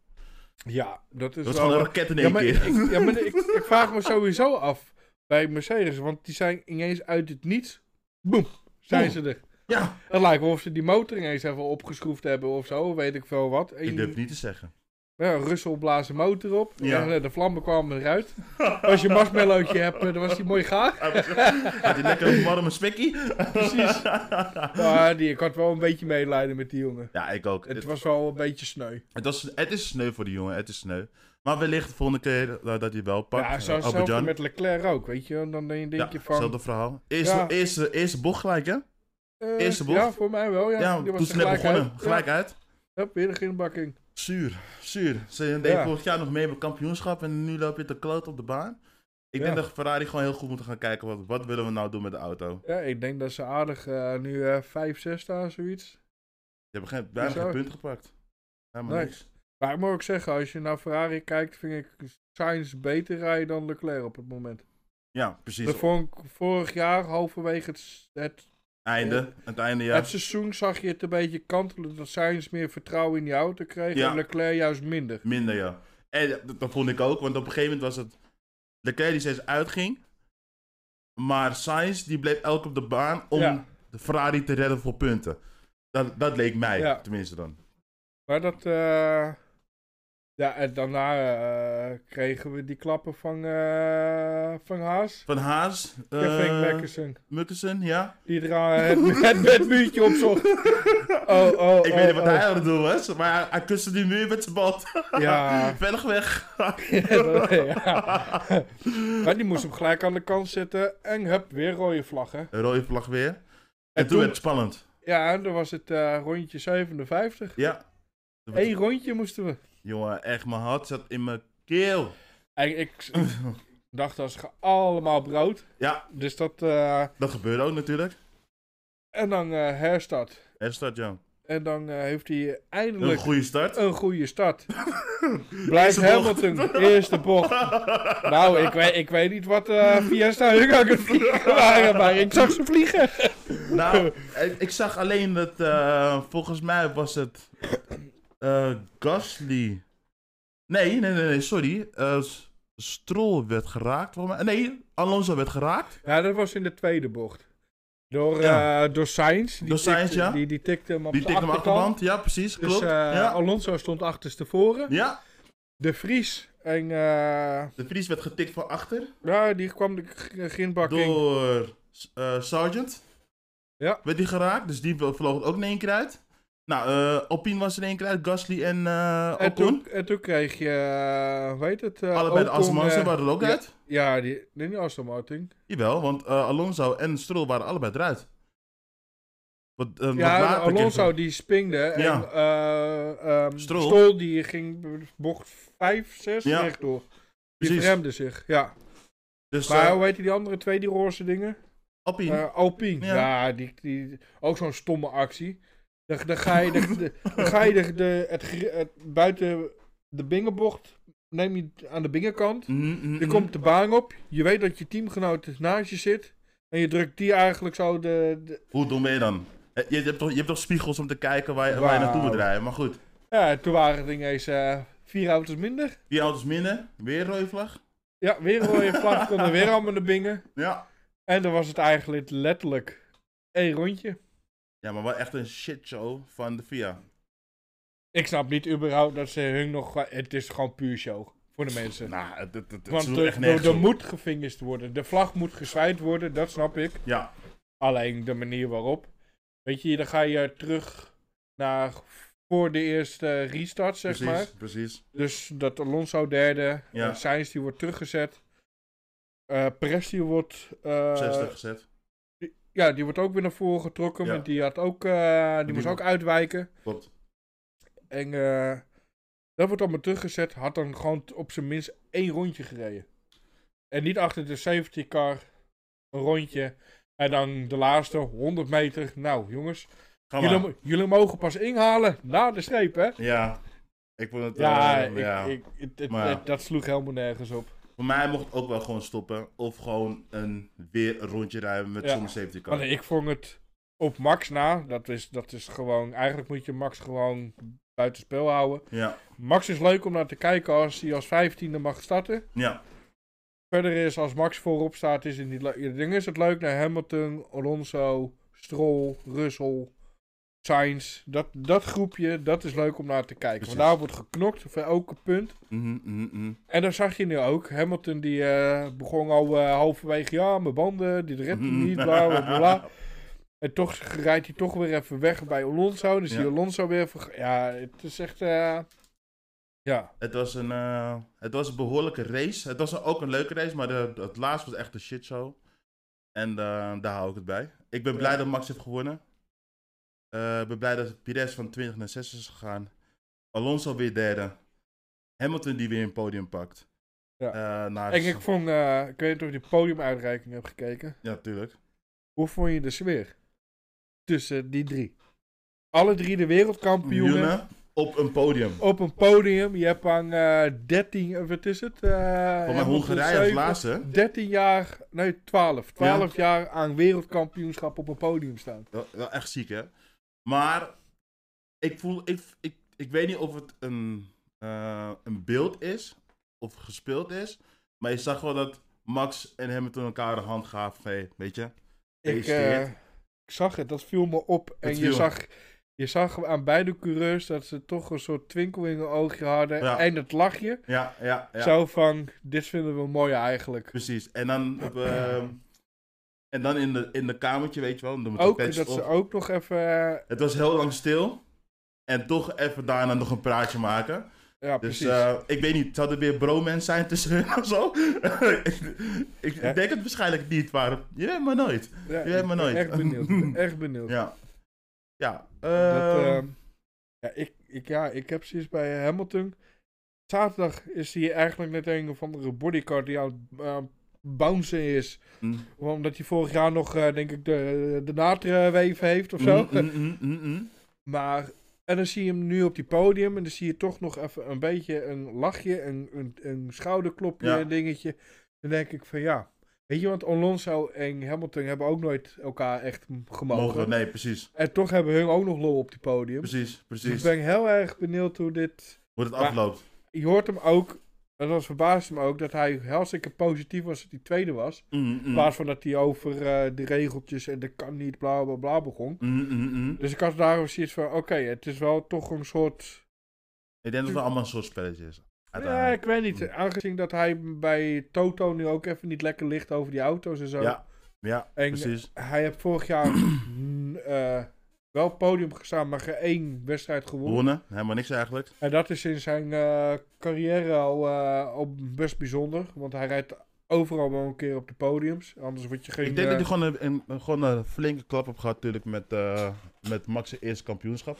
B: Ja, dat is
A: Dat is
B: wel...
A: gewoon een raket in
B: ja,
A: één
B: maar,
A: keer.
B: ik, ja, maar ik,
A: <laughs>
B: ik vraag me sowieso af bij Mercedes, want die zijn ineens uit het niets, boem, zijn ze er.
A: Ja,
B: Het lijkt wel of ze die motor ineens even opgeschroefd hebben of zo, weet ik veel wat. En
A: ik durf het niet te zeggen.
B: Ja, Russel blaast de motor op.
A: Ja.
B: En, eh, de vlammen kwamen eruit. Als je een marshmallowtje hebt, eh, dan was die mooi
A: <laughs>
B: gaar.
A: Had hij lekker een warme smekkie?
B: Precies. Maar die, ik had wel een beetje medelijden met die jongen.
A: Ja, ik ook.
B: Het
A: Het,
B: was wel een beetje sneu.
A: het, was, het is sneu voor die jongen, het is sneu. Maar wellicht de volgende keer eh, dat hij wel pakt.
B: Ja, zo
A: Eh,
B: hetzelfde
A: Azerbaijan.
B: met Leclerc ook, weet je. En dan denk
A: Ja,
B: je van...
A: hetzelfde verhaal. Eerste,
B: Ja.
A: eerste, eerste bocht gelijk, hè?
B: eh,
A: eerste bocht.
B: Ja, voor mij wel, ja.
A: Ja,
B: Die
A: toen
B: was
A: ze
B: er
A: net begonnen.
B: uit.
A: Gelijk uit.
B: Ja, hup, weer de grindbakking.
A: Zuur, zuur. Ze deden
B: Ja.
A: vorig jaar nog mee met kampioenschap en nu loop je te kloot op de baan. Ik
B: Ja.
A: denk dat Ferrari gewoon heel goed moeten gaan kijken, wat, wat willen we nou doen met de auto?
B: Ja, ik denk dat ze aardig eh, nu eh, 5, 6 staan, zoiets.
A: Je hebt geen, bijna
B: Bizar.
A: geen punt gepakt. Helemaal
B: Nee.
A: niks.
B: Maar ik moet ook zeggen, als je naar Ferrari kijkt, vind ik Sainz beter rijden dan Leclerc op het moment.
A: Ja, precies.
B: Dat vond ik vorig jaar, halverwege het, het
A: Einde, aan het einde, ja.
B: Het seizoen zag je het een beetje kantelen dat Sainz meer vertrouwen in die auto kreeg
A: Ja.
B: en Leclerc juist minder.
A: Minder, ja. En dat, dat vond ik ook, want op een gegeven moment was het... Leclerc die steeds uitging. Maar Sainz die bleef elk op de baan om
B: Ja.
A: de Ferrari te redden voor punten. Dat, dat leek mij,
B: Ja.
A: tenminste dan.
B: Maar dat, eh, ja, en daarna eh, kregen we die klappen van, eh, van Haas.
A: Van Haas,
B: Kevin
A: eh
B: Magnussen,
A: Mukkelsen, ja.
B: die er aan het, het, het muurtje opzocht. Oh,
A: <laughs>
B: oh,
A: ik
B: oh,
A: weet niet wat
B: oh.
A: hij aan het doen was, maar hij, hij kuste die muur met zijn <laughs> bal.
B: Ja.
A: Velg weg.
B: ja. Maar die moest hem gelijk aan de kant zetten en hup, weer rode vlaggen.
A: Een rode vlag weer. En,
B: En
A: toen,
B: toen-
A: werd het spannend.
B: Ja, en dan was het eh, rondje 57.
A: Ja. Toen werd-
B: Eén rondje moesten we.
A: Jongen, echt, mijn hart zat in mijn keel. <laughs>
B: En ik, dacht als ge allemaal brood.
A: Ja.
B: Dus dat. eh,
A: Dat gebeurde ook natuurlijk.
B: en dan eh, herstart.
A: Er start, Jan.
B: En dan eh, heeft hij
A: Een
B: eindelijk
A: goede start. <laughs>
B: een goede start. Blijft
A: Eerste bocht.
B: Hamilton, eerste bocht. Nou, ik weet, ik weet niet wat eh Fiesta hun aan het vliegen waren, maar ik zag ze vliegen.
A: Nou, ik, ik zag alleen dat eh, volgens mij was het eh, Gasly. Nee, nee, nee, nee sorry. Eh, S- Stroll werd geraakt. volgens mij. Nee, Alonso werd geraakt.
B: Ja, dat was in de tweede bocht. Door, eh
A: Ja.
B: door Sainz. Die
A: Door Sainz,
B: tikte-
A: ja.
B: Die, die tikte hem op
A: Die
B: de
A: tikte hem
B: achterkant.
A: achterkant. Ja, precies.
B: Dus
A: Klopt.
B: eh,
A: ja.
B: Alonso stond achterstevoren.
A: ja,
B: De Vries. En eh,
A: de Vries werd getikt van achter
B: ja, die kwam de g- grindbakking.
A: door eh, Sargent.
B: Ja.
A: Werd die geraakt, dus die vloog er ook in één keer uit. Nou, eh Alpine was in één keer uit. Gasly en eh
B: En
A: Ocon.
B: toen, en toen kreeg je, eh, hoe heet het? eh,
A: Allebei de
B: Ocon,
A: Aston Martin
B: eh,
A: waren er ook
B: ja.
A: uit.
B: Ja, die, nee, niet Aston Martin.
A: Jawel, want eh, Alonso en Stroll waren allebei eruit. Wat, eh, wat
B: Ja,
A: later kreeg-
B: Alonso die spingde. En
A: Ja.
B: eh ehm,
A: Stroll.
B: Stroll die ging bocht 5, 6
A: Ja.
B: rechtdoor. Die
A: Precies.
B: verremde zich, ja.
A: Dus
B: maar
A: eh,
B: hoe heet die andere twee, die roze dingen?
A: Alpine.
B: Eh, Alpine.
A: Ja.
B: Ja, die, die, ook zo'n stomme actie. Dan, dan ga je, de, de- dan ga je de, de- het, gr- het- buiten de bingenbocht, neem je aan de bingenkant.
A: Mhm, mhm,
B: Je komt de baan op, je weet dat je teamgenoot naast je zit. En je drukt die eigenlijk zo de... de-
A: Hoe dom ben je dan? Eh, Je, je hebt toch, je hebt toch spiegels om te kijken waar je, waar je
B: Wauw.
A: naartoe moet rijden. Maar goed,
B: ja, toen waren het ineens eh, vier auto's minder.
A: vier auto's minder, weer rode vlag.
B: Ja, weer een rode vlag, konden weer allemaal de bingen.
A: Ja.
B: En dan was het eigenlijk letterlijk één rondje.
A: Ja, maar wel echt een shitshow van de FIA.
B: Ik snap niet überhaupt dat ze hun nog... Het is gewoon puur show voor de mensen.
A: Nou, het, het, het, het
B: Want
A: sloeg
B: er,
A: echt
B: er,
A: nergens
B: er
A: op.
B: moet gevingerd worden. De vlag moet gezwaaid worden, dat snap ik.
A: Ja,
B: Alleen de manier waarop. Weet je, dan ga je terug naar voor de eerste restart, zeg
A: precies,
B: maar.
A: precies.
B: Dus dat Alonso derde,
A: Ja.
B: ja. Sainz die wordt teruggezet. Eh Perez die wordt... eh,
A: 60 gezet,
B: Ja, die wordt ook weer naar voren getrokken,
A: Ja.
B: want die, had ook, eh, die
A: Die
B: moest
A: mo-
B: ook uitwijken.
A: klopt.
B: En eh, dat wordt allemaal teruggezet. Had dan gewoon t- op zijn minst één rondje gereden. En niet achter de safety car een rondje. En dan de laatste 100 meter. Nou, jongens.
A: Ga maar.
B: Jullie, mo- jullie mogen pas inhalen na de streep, hè?
A: Ja, ik vond het...
B: Ja,
A: eh,
B: ik,
A: ja.
B: Ik, het- het-
A: Maar ja.
B: het- dat sloeg helemaal nergens op.
A: Voor mij mocht het ook wel gewoon stoppen. Of gewoon een, weer een rondje rijden met
B: Ja.
A: zonder safety car.
B: Want ik vond het op Max na. Dat is, dat is gewoon... Eigenlijk moet je Max gewoon buitenspel houden.
A: Ja,
B: Max is leuk om naar te kijken als hij als 15e mag starten.
A: ja,
B: verder is, als Max voorop staat, is het niet leuk. Ja, Ding is het leuk naar Hamilton, Alonso, Stroll, Russell, Sainz. Dat, dat groepje, dat is leuk om naar te kijken.
A: Precies.
B: Want daar wordt geknokt voor elke punt.
A: Mhm, mhm, mhm.
B: En dan zag je nu ook. Hamilton die eh, begon al eh, halverwege, ja, mijn banden, dit redt hij niet, bla bla bla,
A: <laughs>
B: bla. En toch rijdt hij toch weer even weg bij Alonso. Dus die
A: Ja.
B: Alonso weer... verg- Ja, het is echt... eh, ja,
A: Het was een, eh, het was een behoorlijke race. Het was een- ook een leuke race, maar de, het laatste was echt een shitshow. En eh, daar hou ik het bij. Ik ben blij
B: Ja.
A: dat Max heeft gewonnen. Eh, Ik ben blij dat Pires van 20 naar 6 is gegaan. Alonso weer derde. Hamilton die weer een podium pakt.
B: Ja.
A: Eh, naast-
B: en ik vond, eh, ik weet niet of je die podiumuitreiking hebt gekeken.
A: Ja, tuurlijk.
B: Hoe vond je de sfeer tussen die drie? Alle drie de wereldkampioenen
A: Wielrennen op een podium.
B: op een podium. Je hebt aan eh 13, eh, wat is het?
A: Van
B: Eh,
A: mijn
B: Hamilton
A: Hongarije als
B: zeven,
A: laatste.
B: 13 jaar, nee 12. 12 jaar aan wereldkampioenschap op een podium staan.
A: Wel, wel echt ziek, hè? Maar ik voel, ik, ik, ik weet niet of het een, eh, een beeld is of gespeeld is. Maar je zag wel dat Max en Hamilton elkaar de hand gaven. van, Hey, weet je?
B: Ik,
A: Gefeliciteerd.
B: eh, ik zag het, dat viel me op. En je
A: viel.
B: zag, je zag aan beide coureurs dat ze toch een soort twinkel in hun oogje hadden.
A: Ja.
B: En het lachje.
A: Ja, ja, ja.
B: Zo van, dit vinden we mooi eigenlijk.
A: Precies. En dan, op, eh, en dan in, de, in de kamertje, weet je wel. Dan moet de
B: Ook
A: pets
B: dat ze
A: op.
B: ook nog even... eh,
A: Het was heel lang stil. En toch even daarna nog een praatje maken.
B: Ja,
A: Dus
B: precies.
A: eh, ik weet niet, zou er weer bromance zijn tussen hun of zo? <laughs> ik ik
B: Ja.
A: denk het waarschijnlijk niet, maar je weet maar nooit.
B: Ja,
A: Je weet
B: ik
A: maar
B: ben
A: nooit.
B: Echt benieuwd. echt benieuwd.
A: <laughs> Ja. Ja.
B: Dat,
A: eh,
B: ehm, ja, ik, ik, ja, ik heb zoiets bij eh, Hamilton. Zaterdag is hij eigenlijk net een of andere bodycar die aan het eh, bouncen is.
A: mm,
B: Omdat hij vorig jaar nog, eh, denk ik, de, de naadweef heeft of zo.
A: mm, mm, mm, mm, mm.
B: Maar, en dan zie je hem nu op die podium. En dan zie je toch nog even een beetje een lachje, een, een, een schouderklopje,
A: Ja.
B: een dingetje. Dan denk ik van ja. Weet je, want Alonso en Hamilton hebben ook nooit elkaar echt
A: Mogen we-
B: gemogen.
A: Nee, precies.
B: En toch hebben hun ook nog lol op die podium.
A: Precies,
B: Dus ik
A: precies.
B: ben heel erg benieuwd hoe dit...
A: Hoe het
B: Maar-
A: afloopt.
B: Je hoort hem ook, en dat verbaasde me ook, dat hij hartstikke positief was dat hij tweede was.
A: Mm,
B: In
A: mm.
B: plaats van dat hij over eh, de regeltjes en dat kan niet, bla bla bla begon.
A: Mm, mm, mm.
B: Dus ik had daarom zoiets van, oké, het is wel toch een soort...
A: Ik denk dat het allemaal een soort spelletje is.
B: Ja,
A: Uiteindelijk.
B: ik weet niet, aangezien dat hij bij Toto nu ook even niet lekker ligt over die auto's en zo.
A: Ja, ja
B: en
A: precies.
B: hij heeft vorig
A: <clears throat>
B: jaar mm, eh, wel op het podium gestaan, maar geen één wedstrijd gewonnen.
A: Wonnen, helemaal niks eigenlijk.
B: En dat is in zijn eh, carrière al, eh, al best bijzonder. Want hij rijdt overal wel een keer op de podiums. Anders word je geen...
A: Ik denk
B: eh,
A: dat hij gewoon een, een- een- gewoon een flinke klap op gaat, natuurlijk, met, eh, met Max' eerste kampioenschap.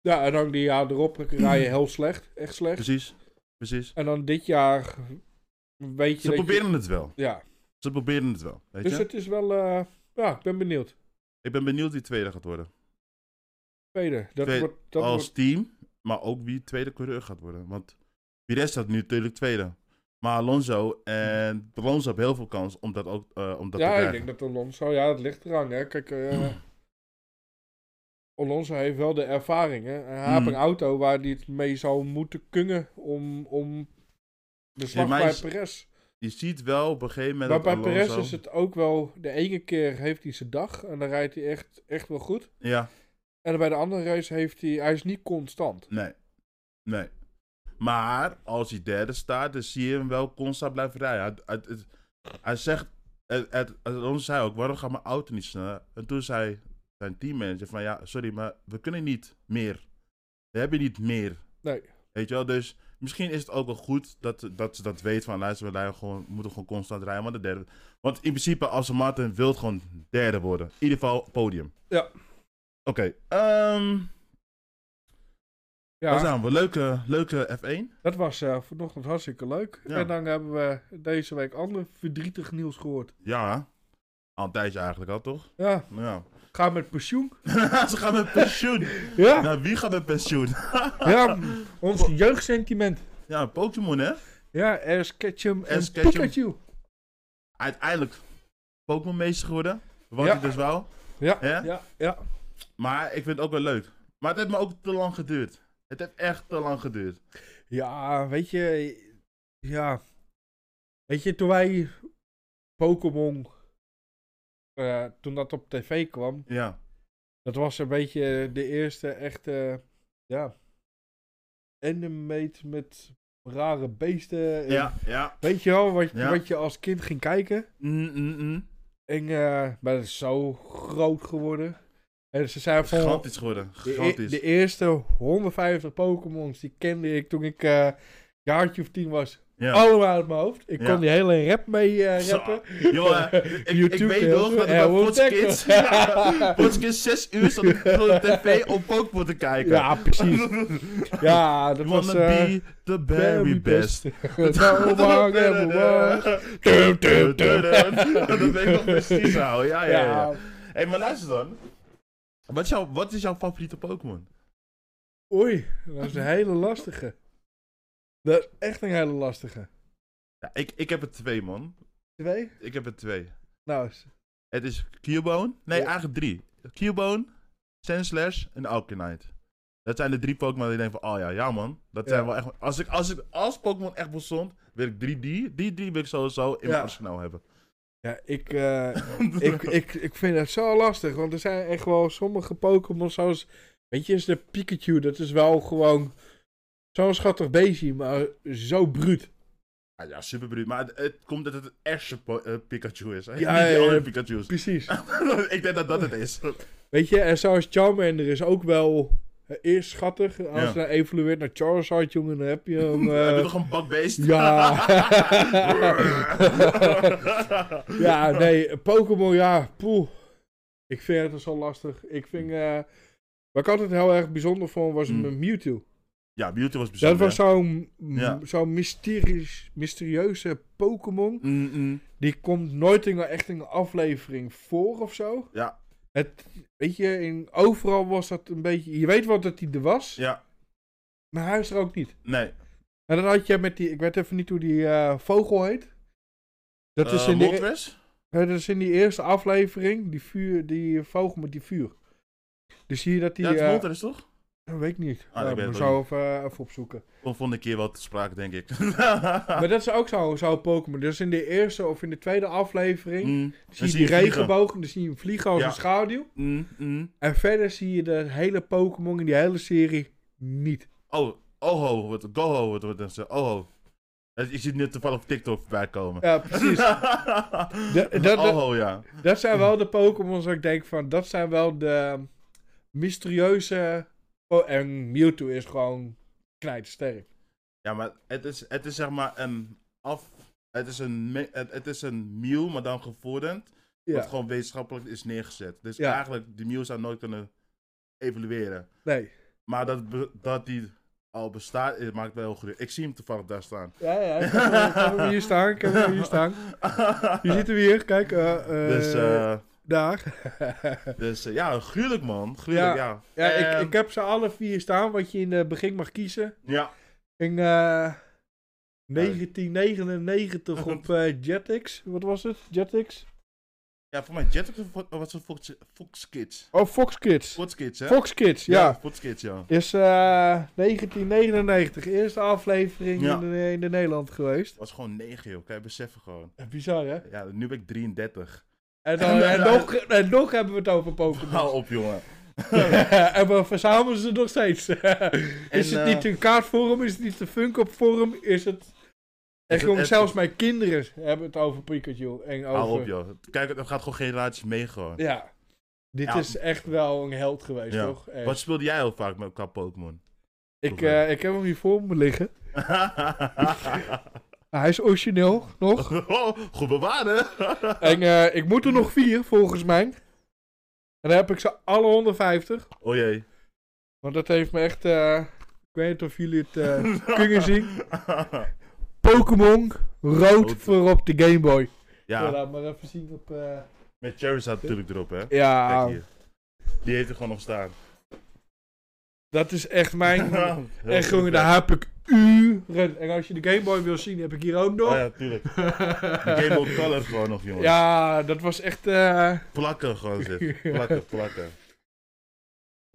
B: Ja, en dan die jaar erop rij je heel slecht. Echt slecht.
A: Precies, precies.
B: En dan dit jaar Weet je
A: Ze
B: dat je-
A: proberen het wel.
B: Ja,
A: Ze proberen het wel. Weet
B: dus
A: je?
B: het is wel... eh, ja, ik ben benieuwd.
A: Ik ben benieuwd wie tweede gaat worden.
B: Tweede. Dat
A: Tweede,
B: wordt, dat
A: Als
B: wordt,
A: team, maar ook wie tweede coureur gaat worden. Want Pires staat nu natuurlijk tweede. Maar Alonso en Alonso hebben heel veel kans om dat ook eh, om dat te
B: ja, ik
A: krijgen.
B: denk dat Alonso... Ja, het ligt eraan, hè. Kijk, eh, <clears throat> Alonso heeft wel de ervaring, hè. Hij heeft
A: Mm.
B: een auto waar hij het mee zou moeten kunnen om... om de slag
A: maar
B: bij
A: is-
B: Perez.
A: Je ziet wel op een gegeven moment
B: Maar
A: dat
B: bij
A: Alonso...
B: Perez is het ook wel... De ene keer heeft hij zijn dag en dan rijdt hij echt, echt wel goed.
A: Ja,
B: En bij de andere race heeft hij... Hij is niet constant.
A: nee. Nee. Maar als hij derde staat, dan zie je hem wel constant blijven rijden. Hij, het- het- hij zegt... Het, het, Alonso zei ook, waarom gaat mijn auto niet sneller? En toen zei zijn teammanager van... Ja, sorry, maar we kunnen niet meer. We hebben niet meer.
B: Nee.
A: Weet je wel, dus misschien is het ook wel goed dat, dat ze dat weten van luister, we rijden gewoon, we moeten gewoon constant rijden, maar de derde. Want in principe, Aston Martin wil gewoon derde worden. In ieder geval podium.
B: Ja.
A: Oké, ehm,
B: Ja.
A: daar zijn we. Leuke, leuke F1.
B: Dat was eh, vanochtend hartstikke leuk.
A: Ja.
B: En dan hebben we deze week ander verdrietig nieuws gehoord.
A: Ja, al een tijdje eigenlijk al, toch? Nou
B: Ja,
A: Ja. <laughs>
B: ga met pensioen.
A: ze gaan met pensioen.
B: Ja,
A: nou, wie gaat met pensioen?
B: ja mm, ons jeugdsentiment.
A: ja, Pokémon, hè?
B: Ja, Ash Ketchum en
A: Ash Ketchum.
B: Pikachu.
A: Uiteindelijk Pokémon meester geworden. Wat
B: Ja.
A: ik dus wel.
B: Ja,
A: Hè?
B: ja, ja.
A: Maar ik vind het ook wel leuk. Maar het heeft me ook te lang geduurd. Het heeft echt te lang geduurd.
B: Ja, weet je... Ja. Weet je, toen wij Pokémon... eh, toen dat op tv kwam...
A: Ja.
B: Dat was een beetje de eerste echte... Ja. Animate met rare beesten. en
A: Ja, ja.
B: Weet je wel, wat,
A: Ja.
B: wat je als kind ging kijken.
A: Mm, mm, mm.
B: En, eh, maar dat is zo groot geworden. En ze zijn van...
A: Gigantisch geworden.
B: De, e-
A: Gigantisch.
B: de eerste 150 Pokémons, die kende ik toen ik eh, een jaartje of tien was.
A: Ja.
B: Allemaal uit mijn hoofd. Ik
A: Ja.
B: kon die hele rap mee eh
A: Zo.
B: rappen. <laughs>
A: Jongen, ik, ik
B: YouTube
A: weet
B: heel
A: nog
B: goed.
A: dat ik bij
B: Ja, hoe
A: Fox
B: ontdekt
A: Kids... <laughs>
B: dat?
A: Ja, Fox Kids 6 uur zat ik voor de tv om Pokémon te kijken.
B: Ja, precies.
A: <laughs>
B: <laughs> Ja, dat was...
A: Wanna
B: eh,
A: be the very <laughs>
B: <laughs>
A: best.
B: nou, man, en
A: <laughs>
B: man. Dum, dum, dum.
A: Dat weet ik nog precies, ouwe. Ja, ja, ja.
B: <laughs> Ja,
A: Hé, maar luister dan. Wat is, jouw, wat is jouw favoriete Pokémon?
B: oei. Dat is een hele lastige. Dat is echt een hele lastige.
A: Ja, ik, ik heb er twee, man.
B: Twee?
A: Ik heb er twee.
B: Nou,
A: Het is Cubone. Nee,
B: Ja.
A: eigenlijk drie. Cubone, Sandslash en Alkanite. Dat zijn de drie Pokémon die denken van, oh ja, ja man. Dat
B: Ja.
A: zijn wel echt... Als, ik, als, ik, als Pokémon echt bestond, wil ik drie die. Die drie wil ik sowieso in
B: Ja.
A: mijn arsenaal hebben.
B: Ja, ik, eh, ik, ik, ik vind het zo lastig. Want er zijn echt wel sommige Pokémon zoals... Weet je, is de Pikachu. Dat is wel gewoon zo'n schattig beestje, maar zo bruut.
A: Ah, ja, super bruut. Maar het, het komt dat het een echte po- eh, Pikachu is. Ja, Niet die
B: Ja, ja, Eh, ja.
A: andere Pikachu's.
B: Precies.
A: <laughs> ik denk dat dat het is.
B: Weet je, en zoals Charmander is ook wel eh, eerst schattig. Als
A: Ja.
B: je dan evolueert naar Charizard, jongen, dan heb je
A: <laughs>
B: hem...
A: Heb je
B: eh,
A: toch een bakbeest? <laughs>
B: ja. ja, nee, Pokémon, ja, poeh. Ik vind het zo lastig. Ik vind... eh wat ik altijd heel erg bijzonder vond, was
A: Mm.
B: mijn Mewtwo.
A: ja, Mewtwo was
B: Dat
A: bijzonder.
B: was zo'n
A: Ja.
B: zo'n mysterieus, mysterieuze Pokémon.
A: Mm, mm.
B: Die komt nooit in, een- echt in een aflevering voor of zo.
A: Ja.
B: Het, weet je, in, overal was dat een beetje... Je weet wel dat hij er was,
A: Ja,
B: maar hij is er ook niet.
A: nee.
B: En dan had je met die... Ik weet even niet hoe die eh, vogel heet. Dat, is
A: Eh,
B: in die,
A: Moltres?
B: eh, dat is in die eerste aflevering. Die, vuur, die vogel met die vuur. Dus zie je dat die...
A: Ja, het is
B: eh,
A: Moltres, toch?
B: weet ik niet.
A: Ah, ik
B: ik
A: weet het
B: zo
A: ook
B: even, eh, even opzoeken.
A: Komt volgende keer wel te sprake, denk ik. <laughs>
B: <laughs> Maar dat is ook zo, zo Pokémon. Dus in de eerste of in de tweede aflevering
A: Mm, dan
B: zie je die
A: vliegen.
B: regenboog en dan zie je hem vliegen als
A: Ja.
B: een schaduw.
A: Mm, mm.
B: En verder zie je de hele Pokémon in die hele serie niet.
A: Oh, oho, wat, goho, wat wordt dat? Oho. Eh, Ik zie het nu toevallig op TikTok voorbij komen.
B: Ja,
A: <laughs>
B: precies. dat- dat-
A: oho, ja.
B: dat zijn wel de Pokémon waar ik denk van, dat zijn wel de mysterieuze... Oh, en Mewtwo is gewoon knijtersterk.
A: Ja, maar het is, het is zeg maar een af... Het is een, me- het, het is een Mew, maar dan gevorderd. Wat
B: Ja,
A: gewoon wetenschappelijk is neergezet. Dus
B: Ja.
A: eigenlijk, die Mew zou nooit kunnen evalueren.
B: nee.
A: Maar dat, be- dat die al bestaat, het maakt wel goed. Ik zie hem toevallig daar staan.
B: Ja, ja. <laughs> Ik heb, hem- ik heb hem hier staan. Ik heb hem hier staan. Je
A: <laughs>
B: ziet hem hier. Kijk. eh, eh,
A: dus eh,
B: daar. <laughs>
A: dus eh, ja, gruwelijk man. Gruwelijk, ja.
B: ja, ik,
A: Ehm,
B: ik heb ze alle vier staan. Wat je in het begin mag kiezen.
A: ja.
B: In eh, 1999 <laughs> op eh, Jetix. Wat was het? Jetix?
A: Ja, voor mij Jetix of wat- wat zo'n Fox, Fox Kids.
B: Oh, Fox Kids.
A: Fox Kids, hè?
B: Fox Kids, ja.
A: Fox Kids, ja.
B: Is eh 1999, eerste aflevering
A: Ja.
B: in, de, in de Nederland geweest.
A: was gewoon 9, joh. Kan je beseffen gewoon.
B: Eh, Bizar, hè?
A: Ja, nu ben ik
B: <laughs>
A: 33.
B: En, dan, en, nog, en nog hebben we het over Pokémon.
A: Hou op, jongen.
B: <laughs> en we verzamelen ze nog steeds. <laughs> is het
A: eh,
B: niet een kaartvorm? Is het niet een Funko-vorm? Is het... En
A: het-
B: gewoon,
A: het-
B: zelfs mijn kinderen hebben het over Pikachu. En over...
A: Hou op, joh. Kijk, er gaat gewoon generaties mee, gewoon.
B: Ja. Dit
A: Ja.
B: is echt wel een held geweest,
A: Ja.
B: toch? Echt.
A: Wat speelde jij heel vaak met qua
B: <laughs>
A: Pokémon? <laughs>
B: Ik, eh, ik heb hem hier voor me liggen.
A: oh,
B: Hij is origineel, nog.
A: goed bewaren. <laughs>
B: En eh, ik moet er nog vier, volgens mij. En dan heb ik ze alle 150.
A: Oh jee.
B: Want dat heeft me echt... eh, ik weet niet of jullie het
A: <laughs>
B: eh, kunnen zien. Pokémon rood
A: Rood.
B: voor op de Game Boy. Ja,
A: ja,
B: laat maar even zien op... eh,
A: met Charizard natuurlijk erop, hè. Kijk
B: Ja,
A: hier. Die heeft er gewoon nog staan.
B: dat is echt
A: <laughs>
B: mijn...
A: Heel
B: echt, jongen,
A: goed,
B: daar
A: hè.
B: heb ik uren. En als je de Game Boy wil zien, heb ik hier ook nog.
A: Oh ja, tuurlijk. De <laughs> Game Boy Color gewoon nog, jongen.
B: Ja, dat was echt... eh,
A: Plakken gewoon
B: <laughs>
A: zit. Plakken, plakken.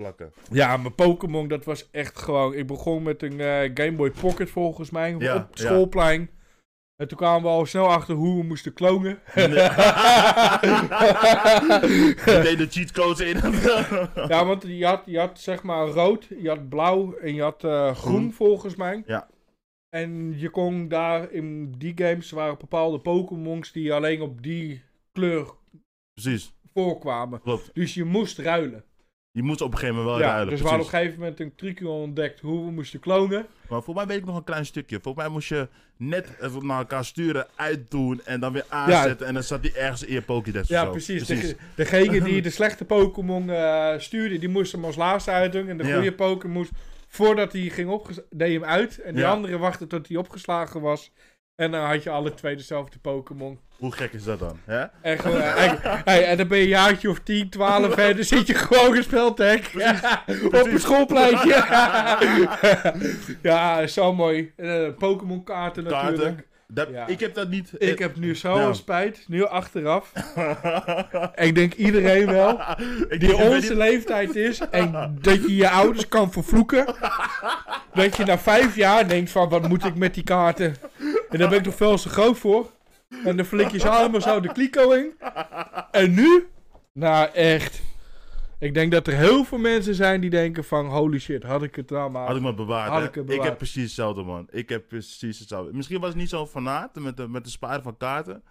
A: Plakken.
B: Ja, mijn Pokémon, dat was echt gewoon... Ik begon met een eh, Game Boy Pocket volgens mij,
A: Ja,
B: op het schoolplein. En toen kwamen we al snel achter hoe we
A: <laughs>
B: moesten klonen. <laughs>
A: Nee. Je deed de cheatcodes in.
B: ja, want je had, je had zeg maar rood, je had blauw en je had eh, groen,
A: Groen.
B: volgens mij.
A: Mhm. Ja.
B: En je kon daar in die games, waren bepaalde Pokémons die alleen op die kleur
A: Precies,
B: voorkwamen.
A: klopt.
B: Dus je moest ruilen.
A: Je moet op een gegeven moment wel
B: ja,
A: Oh, ruilen.
B: dus we
A: precies.
B: hadden op een gegeven moment een trucje ontdekt hoe we moesten klonen.
A: Maar voor mij weet ik nog een klein stukje. Volgens mij moest je net even naar elkaar sturen, uitdoen en dan weer aanzetten. En dan zat die ergens in je Pokédex. of
B: Ja,
A: zo.
B: precies. De, degene
A: <laughs>
B: die de slechte Pokémon eh, stuurde, die moest hem als laatste uitdoen. En de
A: Ja.
B: goede Pokémon moest, voordat hij ging opges- deed hij hem uit. En die
A: Ja.
B: andere wachtte tot hij opgeslagen was. En dan had je alle twee dezelfde Pokémon.
A: Hoe gek is dat dan? Hè?
B: En, gewoon, eh, <laughs> en, hey, en dan ben je een jaartje of 10, 12 verder, zit je gewoon gespeeld, hè? <laughs> Op een
A: precies. <laughs>
B: schoolpleintje. <laughs> ja, zo mooi. Eh, Pokémon kaarten natuurlijk.
A: Kaarten. Dat,
B: Ja.
A: Ik heb dat niet.
B: Ik heb nu zo
A: Ja.
B: spijt, nu
A: <laughs>
B: achteraf. ik denk iedereen wel.
A: Ik
B: die
A: denk- ik weet
B: onze
A: niet-
B: leeftijd is en dat je je ouders kan vervloeken. Dat je na vijf jaar denkt van, wat moet ik met die kaarten? En daar ben ik toch veel te groot voor. En dan flik je ze allemaal zo de kliko in. En nu? Nou, echt. Ik denk dat er heel veel mensen zijn die denken van, holy shit, had ik het nou maar.
A: Had ik maar bewaard.
B: Had
A: hè?
B: ik het
A: ik
B: bewaard.
A: heb precies hetzelfde, man. Ik heb precies hetzelfde. Misschien was ik niet zo'n fanaat met de, met de sparen van kaarten.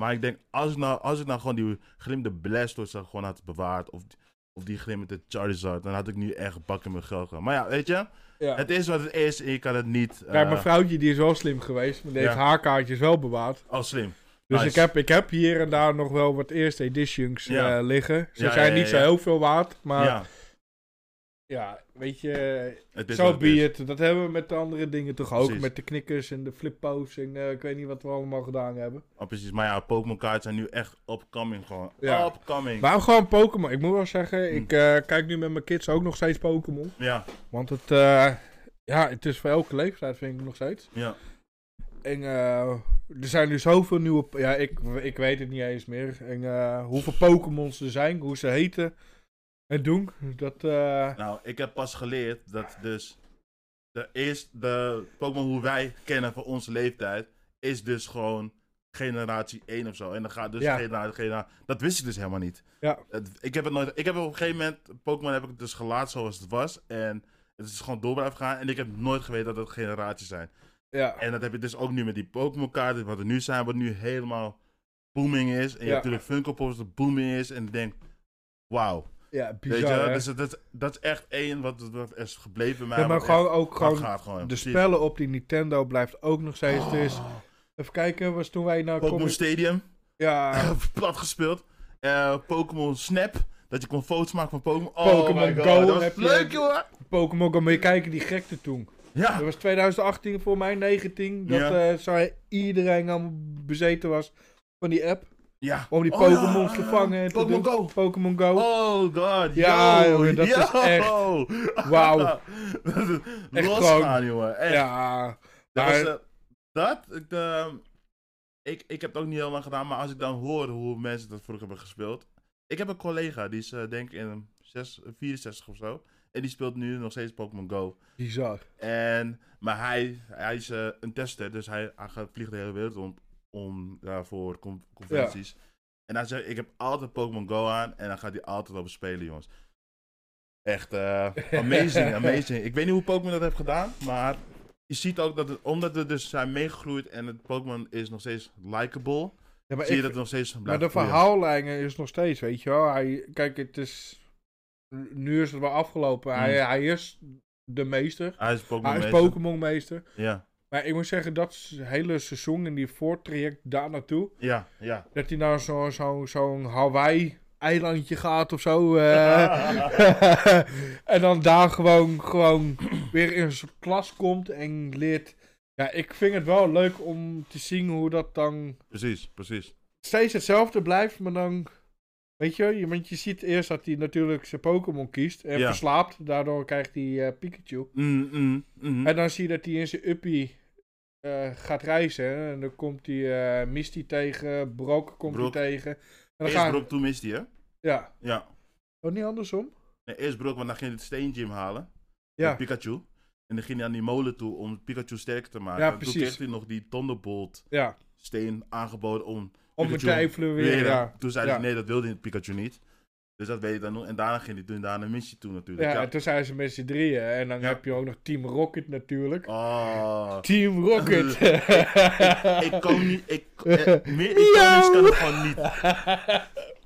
A: Maar ik denk, als ik nou, als ik nou gewoon die glimmende Blastoise had- gewoon had bewaard. Of, of die glimmende Charizard. Dan had ik nu echt een bak in mijn geld gehad. Maar ja, weet je.
B: Ja.
A: Het is wat het is. En je kan het niet. eh,
B: Kijk, mijn vrouwtje die is wel slim geweest, maar die heeft
A: Ja.
B: haar kaartjes wel bewaard.
A: Al slim.
B: Dus
A: Nice.
B: ik, heb, ik heb hier en daar nog wel wat eerste editions
A: Ja.
B: eh, liggen. Ze
A: Ja,
B: zijn
A: ja, ja,
B: niet
A: ja.
B: zo heel veel waard, maar
A: ja,
B: Ja, weet je,
A: het is
B: zo
A: wat het is.
B: be it. Dat hebben we met de andere dingen toch ook.
A: Precies.
B: Met de knikkers en de flippo's en eh, ik weet niet wat we allemaal gedaan hebben.
A: Oh, precies. Maar ja, Pokémon kaarten zijn nu echt upcoming gewoon.
B: Ja.
A: Upcoming.
B: Maar gewoon Pokémon. Ik moet wel zeggen,
A: Hm.
B: ik eh, kijk nu met mijn kids ook nog steeds Pokémon.
A: Ja,
B: Want het, eh, ja, het is voor elke leeftijd, vind ik nog steeds.
A: ja.
B: En eh, er zijn nu zoveel nieuwe... Ja, ik, ik weet het niet eens meer. En eh, hoeveel Pokémons er zijn, hoe ze heten en doen. Dat, eh,
A: Nou, ik heb pas geleerd dat dus de eerste de Pokémon hoe wij kennen van onze leeftijd is dus gewoon generatie 1 of zo. En dan gaat dus
B: Ja.
A: generatie, generatie... Dat wist ik dus helemaal niet.
B: Ja.
A: Het- ik heb het nooit... Ik heb op een gegeven moment... Pokémon heb ik het dus gelaten zoals het was. En het is gewoon door blijven gaan. En ik heb nooit geweten dat het generaties zijn.
B: ja.
A: En dat heb je dus ook nu met die Pokémon kaarten, wat er nu zijn, wat nu helemaal booming is. En je
B: Ja.
A: hebt natuurlijk Funko Pops, dat booming is. En ik denk, wauw.
B: ja,
A: Weet
B: bizar
A: je,
B: hè?
A: wel? dus dat, dat, dat is echt één wat, wat is gebleven bij mij.
B: Ja, maar
A: wat
B: gewoon
A: echt
B: ook gewoon
A: afgaat gewoon.
B: De
A: Precies.
B: spellen op die Nintendo blijft ook nog steeds. Dus
A: Oh,
B: even kijken, was toen wij naar
A: Pokémon
B: Comic-
A: Stadium, <laughs>
B: Ja,
A: plat gespeeld. Eh, Pokémon Snap, dat je kon foto's maken van Pokémon. Oh
B: Pokémon
A: my god,
B: Go
A: dat was
B: heb je-
A: leuk joh.
B: Pokémon Go, moet je kijken die gekte toen.
A: Ja,
B: Dat was 2018 voor mij, 19. Dat
A: Ja.
B: eh, zo iedereen allemaal bezeten was van die app.
A: ja.
B: Om die
A: Oh,
B: Pokémon's
A: ja.
B: te vangen. en te
A: Pokémon
B: doen.
A: Go.
B: Pokémon Go.
A: Oh god,
B: Ja,
A: yo,
B: jongen, dat is
A: yo. <laughs> Ah,
B: echt- Wauw.
A: dat is
B: Echt
A: losgaan, jongen. <laughs> Echt.
B: Ja.
A: Dat,
B: Maar-
A: was, eh, dat ik, eh, ik, ik heb het ook niet heel lang gedaan, maar als ik dan hoor hoe mensen dat vroeger hebben gespeeld. Ik heb een collega, die is eh, denk ik in zes, 64 of zo. En die speelt nu nog steeds Pokémon Go.
B: Bizar.
A: En, maar hij, hij is eh, een tester, dus hij, hij gaat- vliegt de hele wereld rond om, daarvoor voor con- conferenties. En hij zegt, ik heb altijd Pokémon Go aan en dan gaat hij altijd op spelen, jongens. Echt
B: <laughs>
A: eh, amazing, amazing. Ik weet niet hoe Pokémon dat heeft gedaan, maar je ziet ook dat het, omdat we dus zijn meegegroeid en het Pokémon is nog steeds likable,
B: Ja, maar
A: zie je
B: ik-
A: dat het nog steeds blijft
B: Maar de
A: groeien.
B: verhaallijnen is nog steeds, weet je wel. Hij, kijk, het is... Nu is het wel afgelopen. Hij,
A: Mm.
B: hij is de meester.
A: Hij is Pokémon
B: hij is
A: meester.
B: Pokémon meester.
A: Ja,
B: Maar ik moet zeggen, dat s- hele seizoen en die voortraject daar naartoe...
A: ja, ja.
B: Dat hij naar zo'n zo, zo'n Hawaii-eilandje gaat of zo. eh. <laughs> en dan daar gewoon, gewoon weer in zijn klas komt en leert... Ja, ik vind het wel leuk om te zien hoe dat dan
A: Precies, precies.
B: steeds hetzelfde blijft, maar dan. Weet je, je- want je ziet eerst dat hij natuurlijk zijn Pokémon kiest en
A: Ja.
B: verslaapt. Daardoor krijgt hij eh, Pikachu.
A: Mm, mm, mhm.
B: En dan zie je dat hij in zijn uppie eh, gaat reizen. hè. En dan komt hij eh, Misty tegen, Brok komt
A: Brock.
B: hij tegen. En dan
A: Eerst
B: gaan...
A: Brock, toen mist hij, hè?
B: Ja,
A: Ja.
B: ook niet andersom.
A: Nee, eerst Brock, want dan ging hij het steentje hem halen.
B: Ja.
A: Met Pikachu. En dan ging hij aan die molen toe om Pikachu sterker te maken.
B: Ja,
A: En
B: precies.
A: Toen kreeg hij nog die Thunderbolt
B: Ja,
A: steen aangeboden om
B: om het
A: Pikachu
B: te evalueren. Ja.
A: Toen zei
B: Ja.
A: hij, nee, dat wilde Pikachu niet. Dus dat weet ik dan nog. En daarna ging hij doen, daarna missie toe natuurlijk.
B: Ja,
A: Ja.
B: en toen zijn ze met z'n drieën. En dan
A: Ja.
B: heb je ook nog Team Rocket natuurlijk.
A: Oh.
B: Team
A: <laughs>
B: Rocket!
A: Ik kan niet, ik, eh, meer iconisch kan het gewoon
B: <laughs>
A: niet.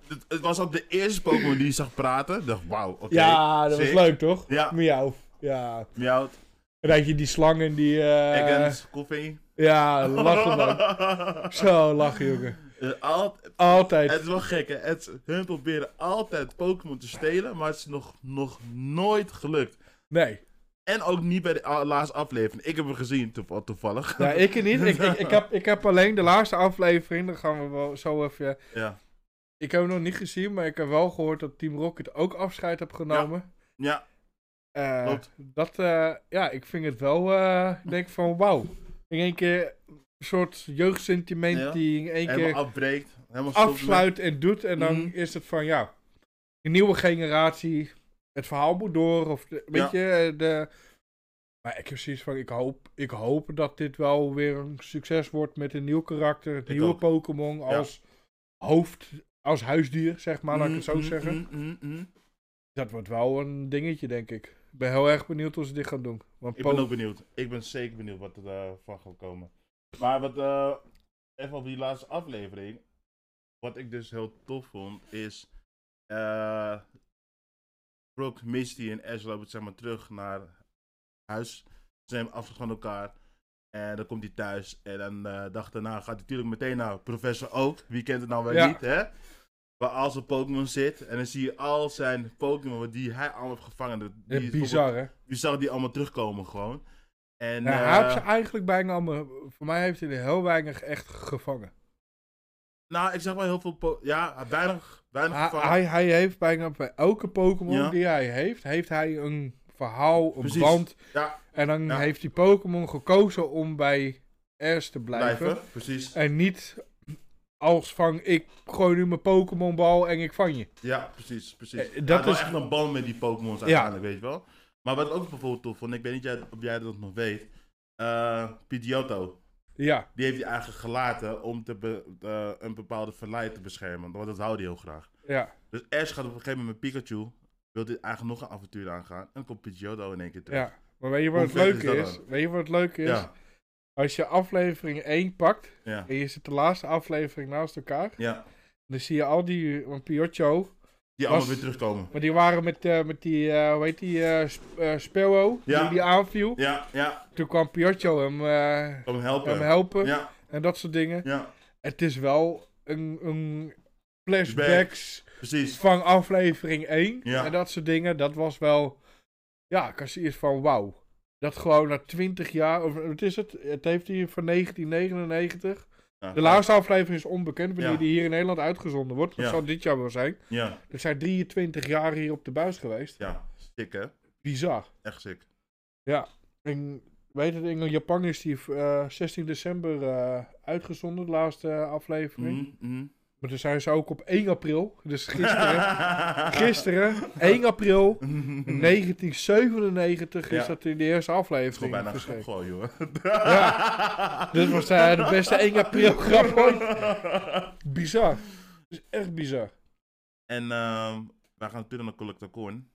A: Het, het was ook de eerste Pokémon die je zag praten. Ik dacht, wauw, oké.
B: <laughs> Ja, dat
A: sick.
B: was leuk toch?
A: Ja.
B: Miauw. Ja.
A: Meowth,
B: En dat je die slangen die. eh,
A: Eggans, Koffie.
B: ja,
A: <laughs>
B: lachen man. Zo lachen jongen.
A: Eh, al-
B: Altijd.
A: Het is wel gek, hè? Het, hun proberen altijd Pokémon te stelen, maar het is nog, nog nooit gelukt.
B: Nee.
A: En ook niet bij de a- laatste aflevering. Ik heb hem gezien toev- toevallig.
B: Ja, ik niet. Ik, ik, ik, heb, ik heb alleen de laatste aflevering. Dan gaan we wel zo even.
A: Ja.
B: Ik heb hem nog niet gezien, maar ik heb wel gehoord dat Team Rocket ook afscheid heeft genomen.
A: Ja,
B: Eh,
A: Klopt.
B: dat, eh, ja, ik vind het wel. eh, ik denk van wauw. In één keer een soort jeugdsentiment
A: Ja.
B: die in één keer.
A: helemaal afbreekt. Helemaal stopt
B: eh, afsluit en doet. En dan
A: Mhm.
B: is het van ja, de nieuwe generatie, het verhaal moet door. Of de- weet je, de. Maar ik heb zoiets van, ik hoop, ik hoop dat dit wel weer een succes wordt met een nieuw karakter. Het
A: Ik
B: nieuwe
A: ook.
B: Pokémon als hoofd, als huisdier, zeg maar, laat ik het zo
A: Mm, mm,
B: zeggen.
A: mm, mm, mm.
B: Dat wordt wel een dingetje, denk ik. Ik ben heel erg benieuwd hoe ze dit gaan doen. Want
A: Ik
B: Po-
A: ben ook benieuwd. Ik ben zeker benieuwd wat er eh, van gaat komen. Maar wat, eh, even op die laatste aflevering. Wat ik dus heel tof vond, is... eh Brock, Misty en Ash lopen zeg maar terug naar huis. Ze nemen afstand van elkaar. En dan komt hij thuis. En dan eh dag daarna gaat hij natuurlijk meteen naar professor Oak. Wie kent het nou wel
B: Ja.
A: niet, hè? Waar al zijn Pokémon zit. En dan zie je al zijn Pokémon die hij allemaal heeft gevangen. Die
B: Ja,
A: bijvoorbeeld-
B: eh, bizar, hè?
A: je zag die allemaal terugkomen gewoon. En,
B: Nou,
A: eh,
B: hij heeft ze eigenlijk bijna allemaal... Voor mij heeft hij er heel weinig echt gevangen.
A: nou, ik zag wel heel veel... po- Ja, weinig, weinig
B: Hij,
A: gevangen.
B: hij, hij heeft bijna bij elke Pokémon
A: Ja.
B: die hij heeft, heeft hij een verhaal, een
A: Precies.
B: band.
A: Ja,
B: En dan
A: Ja.
B: heeft die Pokémon gekozen om bij Ash te blijven.
A: blijven. Precies.
B: En niet als van ik gooi nu mijn Pokémonbal en ik vang je.
A: Ja, precies. precies.
B: Eh, dat
A: Hij had wel
B: is-
A: echt een band met die Pokémon's uiteindelijk, weet je wel. Maar wat ik ook bijvoorbeeld tof vond, ik weet niet jij- of jij dat nog weet. eh Pidgeotto,
B: Ja,
A: die heeft hij eigenlijk gelaten om te be- eh, een bepaalde verleid te beschermen. Want dat houdt hij heel graag.
B: ja,
A: Dus Ash gaat op een gegeven moment met Pikachu, wil hij eigenlijk nog een avontuur aangaan. En dan komt Pidgeotto in één keer terug.
B: ja. Maar weet je wat
A: Hoe
B: het
A: vet
B: leuke
A: is dat
B: is?
A: dan?
B: Weet je wat het leuke is?
A: Ja,
B: Als je aflevering 1 pakt
A: ja,
B: en je zit de laatste aflevering naast elkaar,
A: ja.
B: dan zie je al die, want Piotjo,
A: Die allemaal
B: Was-
A: weer terugkomen.
B: maar die waren met, eh, met die, eh, hoe heet die, eh Sp- eh, Sparrow,
A: Ja.
B: die, die aanviel.
A: Ja, ja.
B: Toen kwam Piotjo hem, eh,
A: Kom helpen.
B: hem helpen
A: Ja,
B: en dat soort dingen.
A: ja,
B: Het is wel een, een flashbacks
A: precies.
B: van aflevering 1
A: Ja.
B: en dat soort dingen. Dat was wel, ja, ik had zoiets van wauw. Dat gewoon na 20 jaar, of wat is het? Het heeft hier van 1999.
A: Ja.
B: De laatste aflevering is onbekend wanneer
A: Ja.
B: die hier in Nederland uitgezonden wordt. Dat
A: Ja.
B: zou dit jaar wel zijn.
A: Ja,
B: Er zijn 23 jaar hier op de buis geweest.
A: ja. Sick, hè?
B: Bizar.
A: Echt sick.
B: En weet het, in Japan is die eh, 16 december eh, uitgezonden, de laatste eh, aflevering.
A: Mhm, mhm.
B: Maar toen zijn ze ook op 1
A: <laughs>
B: april, dus gisteren. gisteren, 1 april
A: Nee.
B: 1997 is
A: Ja.
B: dat in
A: mhm.
B: de eerste
A: Het is gewoon
B: aflevering.
A: bijna
B: verschenen.
A: gewoon, joh.
B: Ja.
A: <laughs>
B: Dit was eh, de beste 1 april grap ooit. Bizar. Dat is echt bizar.
A: En ehm, wij gaan spelen naar Collector Corn.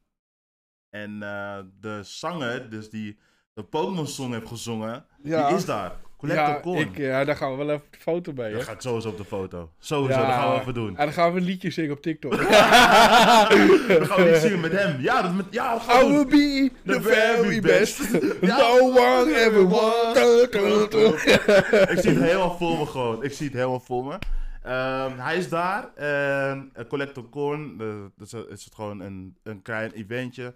A: En eh, de zanger, dus die de Pokémon-song heeft gezongen,
B: Ja,
A: die is daar. Collector
B: ja,
A: Corn.
B: ik, eh, ja, daar gaan we wel even de foto bij. Hè?
A: Dat gaat sowieso op de foto. Sowieso,
B: Ja.
A: dat gaan we even doen.
B: En dan gaan we een liedje zingen op
A: <laughs>
B: TikTok. <laughs>
A: We gaan niet zingen met hem. Ja, dat, met, ja we gaan
B: I
A: doen.
B: will <laughs> be the very best. No one ever won. Du- du- du-
A: Ik zie het helemaal voor me gewoon. Ik zie het helemaal voor me. Ehm, hij is daar. En eh, Collector Corn. eh, dat is, is het gewoon een, een klein eventje.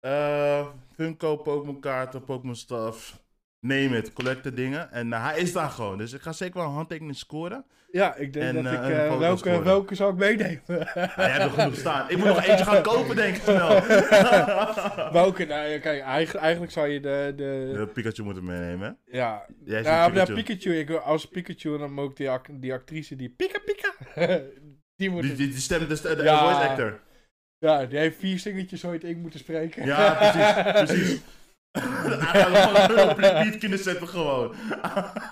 A: Eh, Funko, Pokémon kaarten, Pokémon stuff. Neem het, collecte dingen. En eh, hij is daar gewoon. Dus ik ga zeker wel een handtekening scoren.
B: Ja, ik denk
A: En, eh,
B: dat ik...
A: een
B: eh,
A: foto
B: welke,
A: scoren.
B: welke zou ik meenemen?
A: Nou, jij hebt nog genoeg staan.
B: <laughs>
A: Ik moet nog eentje gaan kopen, denk ik snel.
B: welke? Nou ja, kijk, eigenlijk, eigenlijk zou je de... de
A: Eh, Pikachu moet hem meenemen.
B: ja, Nou,
A: Jij ziet
B: ja,
A: Pikachu.
B: Pikachu. Pikachu ik, als Pikachu, dan ook die, ac- die actrice die... Pika, Pika! <laughs> die moet...
A: Die, die, die stem, de, de de
B: Ja.
A: voice actor.
B: Ja, die heeft vier singeltjes ooit ik moeten spreken.
A: Ja, precies, precies. <laughs> Hij gaat hem gewoon op repeat kunnen zetten gewoon. <laughs>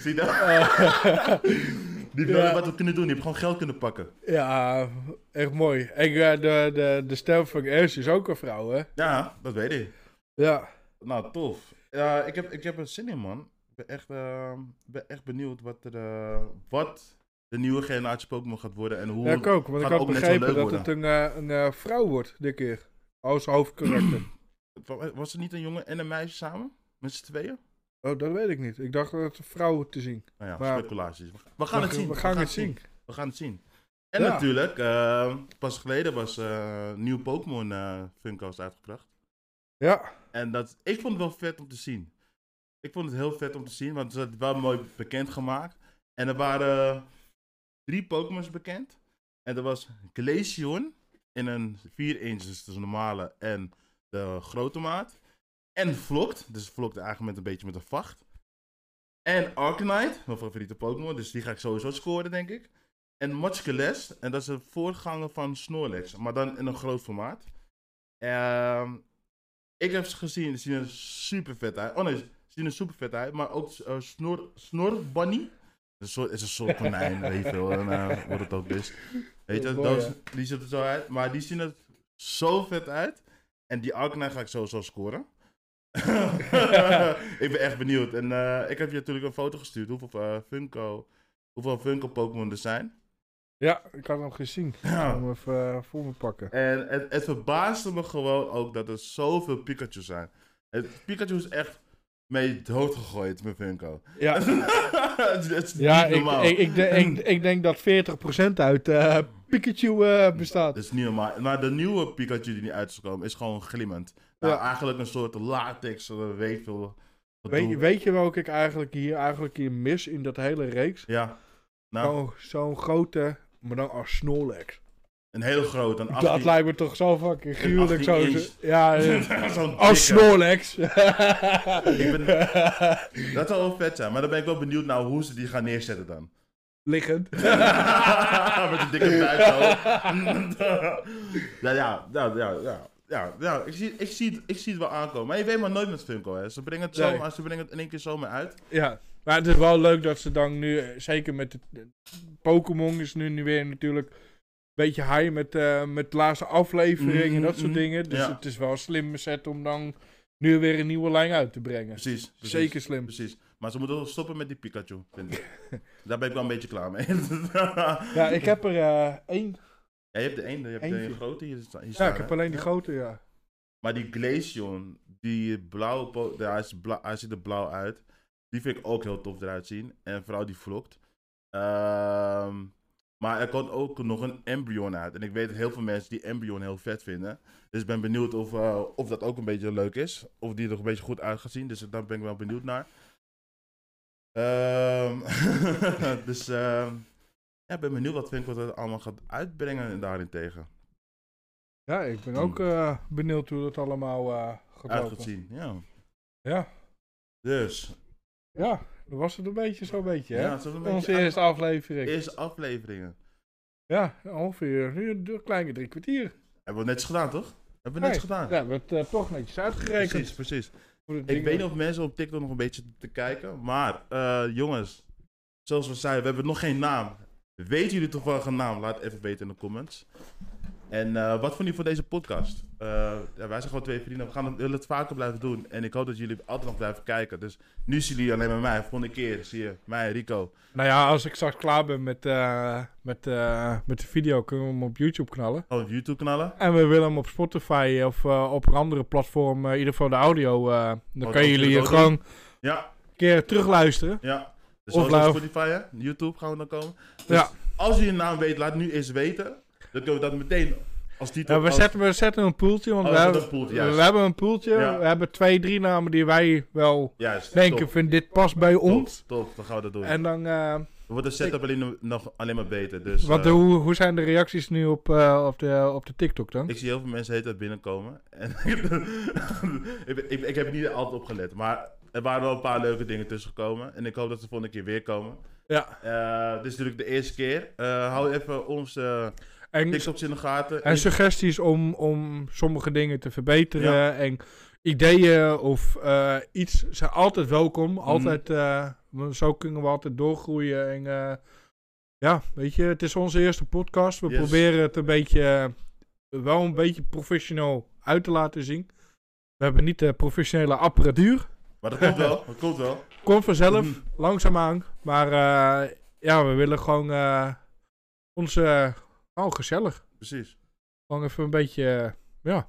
A: Zie je dat?
B: <laughs> Eh,
A: Die willen wat we kunnen doen, die hebben gewoon geld kunnen pakken.
B: ja, echt mooi. En eh, de, de, de stem van Ash is ook een vrouw, hè?
A: Ja, dat weet ik.
B: Ja.
A: Nou, tof. Ja, ik, heb, ik heb er zin in, man. Ik ben echt, eh, ik ben echt benieuwd wat, er, eh, wat de nieuwe generatie Pokémon gaat worden en hoe...
B: Ja, ik ook. Want ik
A: gaat
B: had
A: ook net zo leuk
B: begrepen dat
A: worden.
B: het een, eh, een eh, vrouw wordt, dit keer. Als hoofdkarakter.
A: Was er niet een jongen en een meisje samen? Met z'n tweeën?
B: oh, dat weet ik niet. Ik dacht dat het een vrouw te zien.
A: Nou ja,
B: Maar-
A: speculaties. We gaan
B: We-
A: het zien.
B: We gaan het zien.
A: We gaan het zien. En
B: Ja.
A: natuurlijk, eh, pas geleden was eh, nieuw Pokémon eh Funko's uitgebracht.
B: Ja.
A: En dat, ik vond het wel vet om te zien. Ik vond het heel vet om te zien, want ze hadden het wel mooi bekendgemaakt. En er waren eh, drie Pokémon's bekend. En dat was Glaceon in een 4 inch, dus de normale en de grote maat. En Vlokt, dus Vlokt eigenlijk met een beetje met een vacht. En Arcanite, mijn favoriete Pokémon, dus die ga ik sowieso scoren, denk ik. En Machkeles, en dat is de voorganger van Snorlax, maar dan in een groot formaat. Ehm, ik heb ze gezien, ze zien er super vet uit. Oh nee, ze zien er super vet uit. Maar ook eh, snor, Snorbunny. Een soort, is een soort konijn, weet je wel. En, eh, wat het ook is. Weet je,
B: Mooi,
A: dat,
B: hè?
A: die ziet er zo uit. Maar die zien er zo vet uit. En die Alkmaar ga ik sowieso
B: <laughs>
A: scoren. ik ben echt benieuwd. En eh, ik heb je natuurlijk een foto gestuurd. Hoeveel eh, Funko, hoeveel Funko Pokémon er zijn.
B: Ja, ik had hem gezien. Ik ga hem even eh, voor me pakken.
A: En het, het verbaasde me gewoon ook dat er zoveel Pikachu zijn. Het, Pikachu is echt mee doodgegooid met Funko. <laughs>
B: Ja,
A: het, is
B: ja
A: niet
B: ik,
A: normaal.
B: ik, ik, denk- ik, ik denk dat 40% uit eh, Pikachu eh, bestaat.
A: Dat is niet normaal. Maar de nieuwe Pikachu die niet uit is gekomen is gewoon glimmend. Nou,
B: Ja.
A: Eigenlijk een soort latex, eh, weet veel.
B: Weet, weet je welke ik eigenlijk hier, eigenlijk hier mis in dat hele reeks?
A: Ja. Nou,
B: Zo'n zo'n grote, maar dan als Snorlax.
A: een heel groot. Een
B: Dat
A: 18
B: lijkt me toch zo fucking gruwelijk.
A: 18
B: Zo,
A: inch.
B: ja,
A: <laughs>
B: eh,
A: Zo'n
B: Als
A: dikke.
B: Snorlax.
A: ben-
B: <laughs>
A: Dat zou wel vet zijn, maar dan ben ik wel benieuwd naar hoe ze die gaan neerzetten dan. <laughs>
B: Liggend.
A: Met een <laughs> dikke buik zo. ja, ja, ja, ja, ja. Ja, ja, ik zie, ik, zie het, ik zie het wel aankomen. Maar je weet maar nooit met Funko, hè. Ze brengen het,
B: Nee.
A: zomaar, ze brengen het in één keer zomaar uit.
B: Ja, maar het is wel leuk dat ze dan nu, eh, zeker met de- Pokémon is nu, nu weer natuurlijk een beetje high met, eh, met de laatste aflevering en
A: Mhm,
B: dat soort
A: mhm.
B: dingen. Dus
A: Ja.
B: het is wel een slimme set om dan nu weer een nieuwe lijn uit te brengen.
A: Precies. precies.
B: Zeker slim.
A: Precies. Maar ze moeten wel stoppen met die Pikachu, vind
B: <laughs>
A: ik. Daar ben ik wel een beetje klaar mee.
B: Ja, ik heb er eh, één.
A: Ja, je hebt de ene, je hebt de
B: Eentje.
A: grote hier, sta- hier
B: Ja,
A: staan,
B: ik heb
A: hè?
B: alleen die
A: Ja.
B: grote, ja.
A: Maar die Glaceon, die blauwe, po- ja, hij, is bla- hij ziet er blauw uit. Die vind ik ook heel tof eruit zien. En vooral die vlokt. Ehm, Maar er komt ook nog een embryon uit. En ik weet dat heel veel mensen die embryon heel vet vinden. Dus ik ben benieuwd of, eh, of dat ook een beetje leuk is. Of die er een beetje goed uit gaat zien. Dus daar ben ik wel benieuwd naar. Ehm, <laughs> dus ehm, ja, ik ben benieuwd wat Vinkel dat allemaal gaat uitbrengen daarentegen.
B: Ja, ik ben ook
A: Mm.
B: eh, benieuwd hoe dat allemaal eh gaat
A: Uit
B: lopen.
A: gaat zien, ja.
B: Ja.
A: Dus,
B: ja, dat was het een beetje zo'n beetje, hè?
A: ja, zullen we een
B: Onze
A: beetje
B: eerste aflevering.
A: eerste afleveringen.
B: Ja, ongeveer nu een kleine drie kwartier.
A: Hebben we netjes gedaan, toch? Hebben we
B: Nee.
A: netjes gedaan.
B: Ja, we hebben het eh, toch netjes uitgerekend.
A: precies, precies.
B: Voor de
A: Ik
B: dingen.
A: weet niet of mensen op TikTok nog een beetje te kijken. Maar eh, jongens, zoals we zeiden, we hebben nog geen naam. Weten jullie toevallig een naam? Laat het even weten in de comments. En eh, wat vonden jullie van deze podcast? Eh, ja, wij zijn gewoon twee vrienden. We gaan het, willen het vaker blijven doen. En ik hoop dat jullie altijd nog blijven kijken. Dus nu zien jullie alleen maar mij. Volgende keer zie je mij, Rico.
B: Nou ja, als ik straks klaar ben met, eh, met, eh, met de video, kunnen we hem op YouTube knallen.
A: Gewoon op YouTube knallen.
B: En we willen hem op Spotify of eh, op een andere platform, eh, in ieder geval de audio. eh, dan
A: Oh, dat
B: kunnen
A: kunnen
B: jullie
A: we
B: je
A: ook
B: gewoon
A: Ja,
B: een keer terugluisteren.
A: ja. Dus
B: Of
A: zoals op
B: live.
A: Spotify, hè? YouTube gaan we dan komen. Dus
B: Ja.
A: als jullie een naam weet, laat het nu eens weten. Dan kunnen we dat meteen als titel...
B: Ja, we,
A: als-
B: zetten, we zetten een poeltje, want
A: Oh,
B: we,
A: we
B: hebben,
A: zetten een poeltje, juist.
B: we hebben een poeltje.
A: Ja.
B: We hebben twee, drie namen die wij wel
A: Juist,
B: denken
A: top.
B: van dit past bij ons.
A: Top, top, dan gaan we dat doen.
B: En dan, eh,
A: Wordt de setup alleen nog- nog alleen maar beter. Dus,
B: wat,
A: eh,
B: hoe, hoe zijn de reacties nu op, eh, op, de, op de TikTok dan?
A: ik zie heel veel mensen de hele tijd binnenkomen. En <laughs> ik, ben- ik, ik heb er niet altijd op gelet. Maar er waren wel een paar leuke dingen tussen gekomen. En ik hoop dat ze volgende keer weer komen.
B: Ja.
A: Eh, dit is natuurlijk de eerste keer. Eh, hou even onze eh,
B: En,
A: TikToks in de gaten.
B: en suggesties om, om sommige dingen te verbeteren
A: Ja.
B: en ideeën of eh, iets zijn altijd
A: Mm.
B: welkom. Altijd, eh, want zo kunnen we altijd doorgroeien. En eh, ja, weet je, het is onze eerste podcast. We
A: Yes.
B: proberen het een beetje, eh, wel een beetje professioneel uit te laten zien. We hebben niet de professionele apparatuur.
A: Maar dat komt wel, dat komt wel.
B: Komt vanzelf,
A: Mhm.
B: langzaamaan. Maar eh, ja, we willen gewoon eh onze, oh gezellig.
A: Precies.
B: Gewoon even een beetje. eh,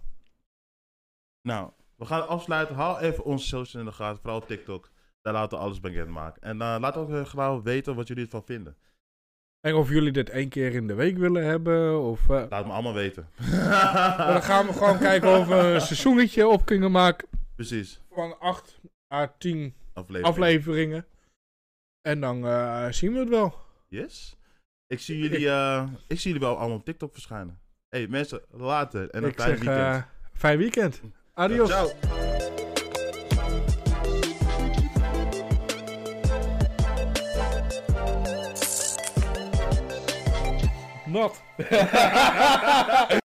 A: Nou, we gaan afsluiten. Haal even onze socials in de gaten, vooral TikTok. Daar laten we alles bekend maken. En eh, laat ook eh, gewoon weten wat jullie ervan vinden.
B: eh, en of jullie dit één keer in de week willen hebben. Of, eh,
A: Laat me allemaal
B: <laughs>
A: weten. Ah.
B: dan gaan we gewoon kijken of we
A: <laughs>
B: een seizoenetje op kunnen maken.
A: Precies.
B: Van 8 à 10
A: Aflevering.
B: afleveringen. En dan eh, zien we het wel.
A: Yes. Ik zie jullie, eh, ik zie jullie wel allemaal op TikTok verschijnen. hey, mensen, later. En een
B: Ik
A: fijn
B: zeg
A: weekend.
B: eh, fijn weekend. Adios.
A: Ciao.
B: Not.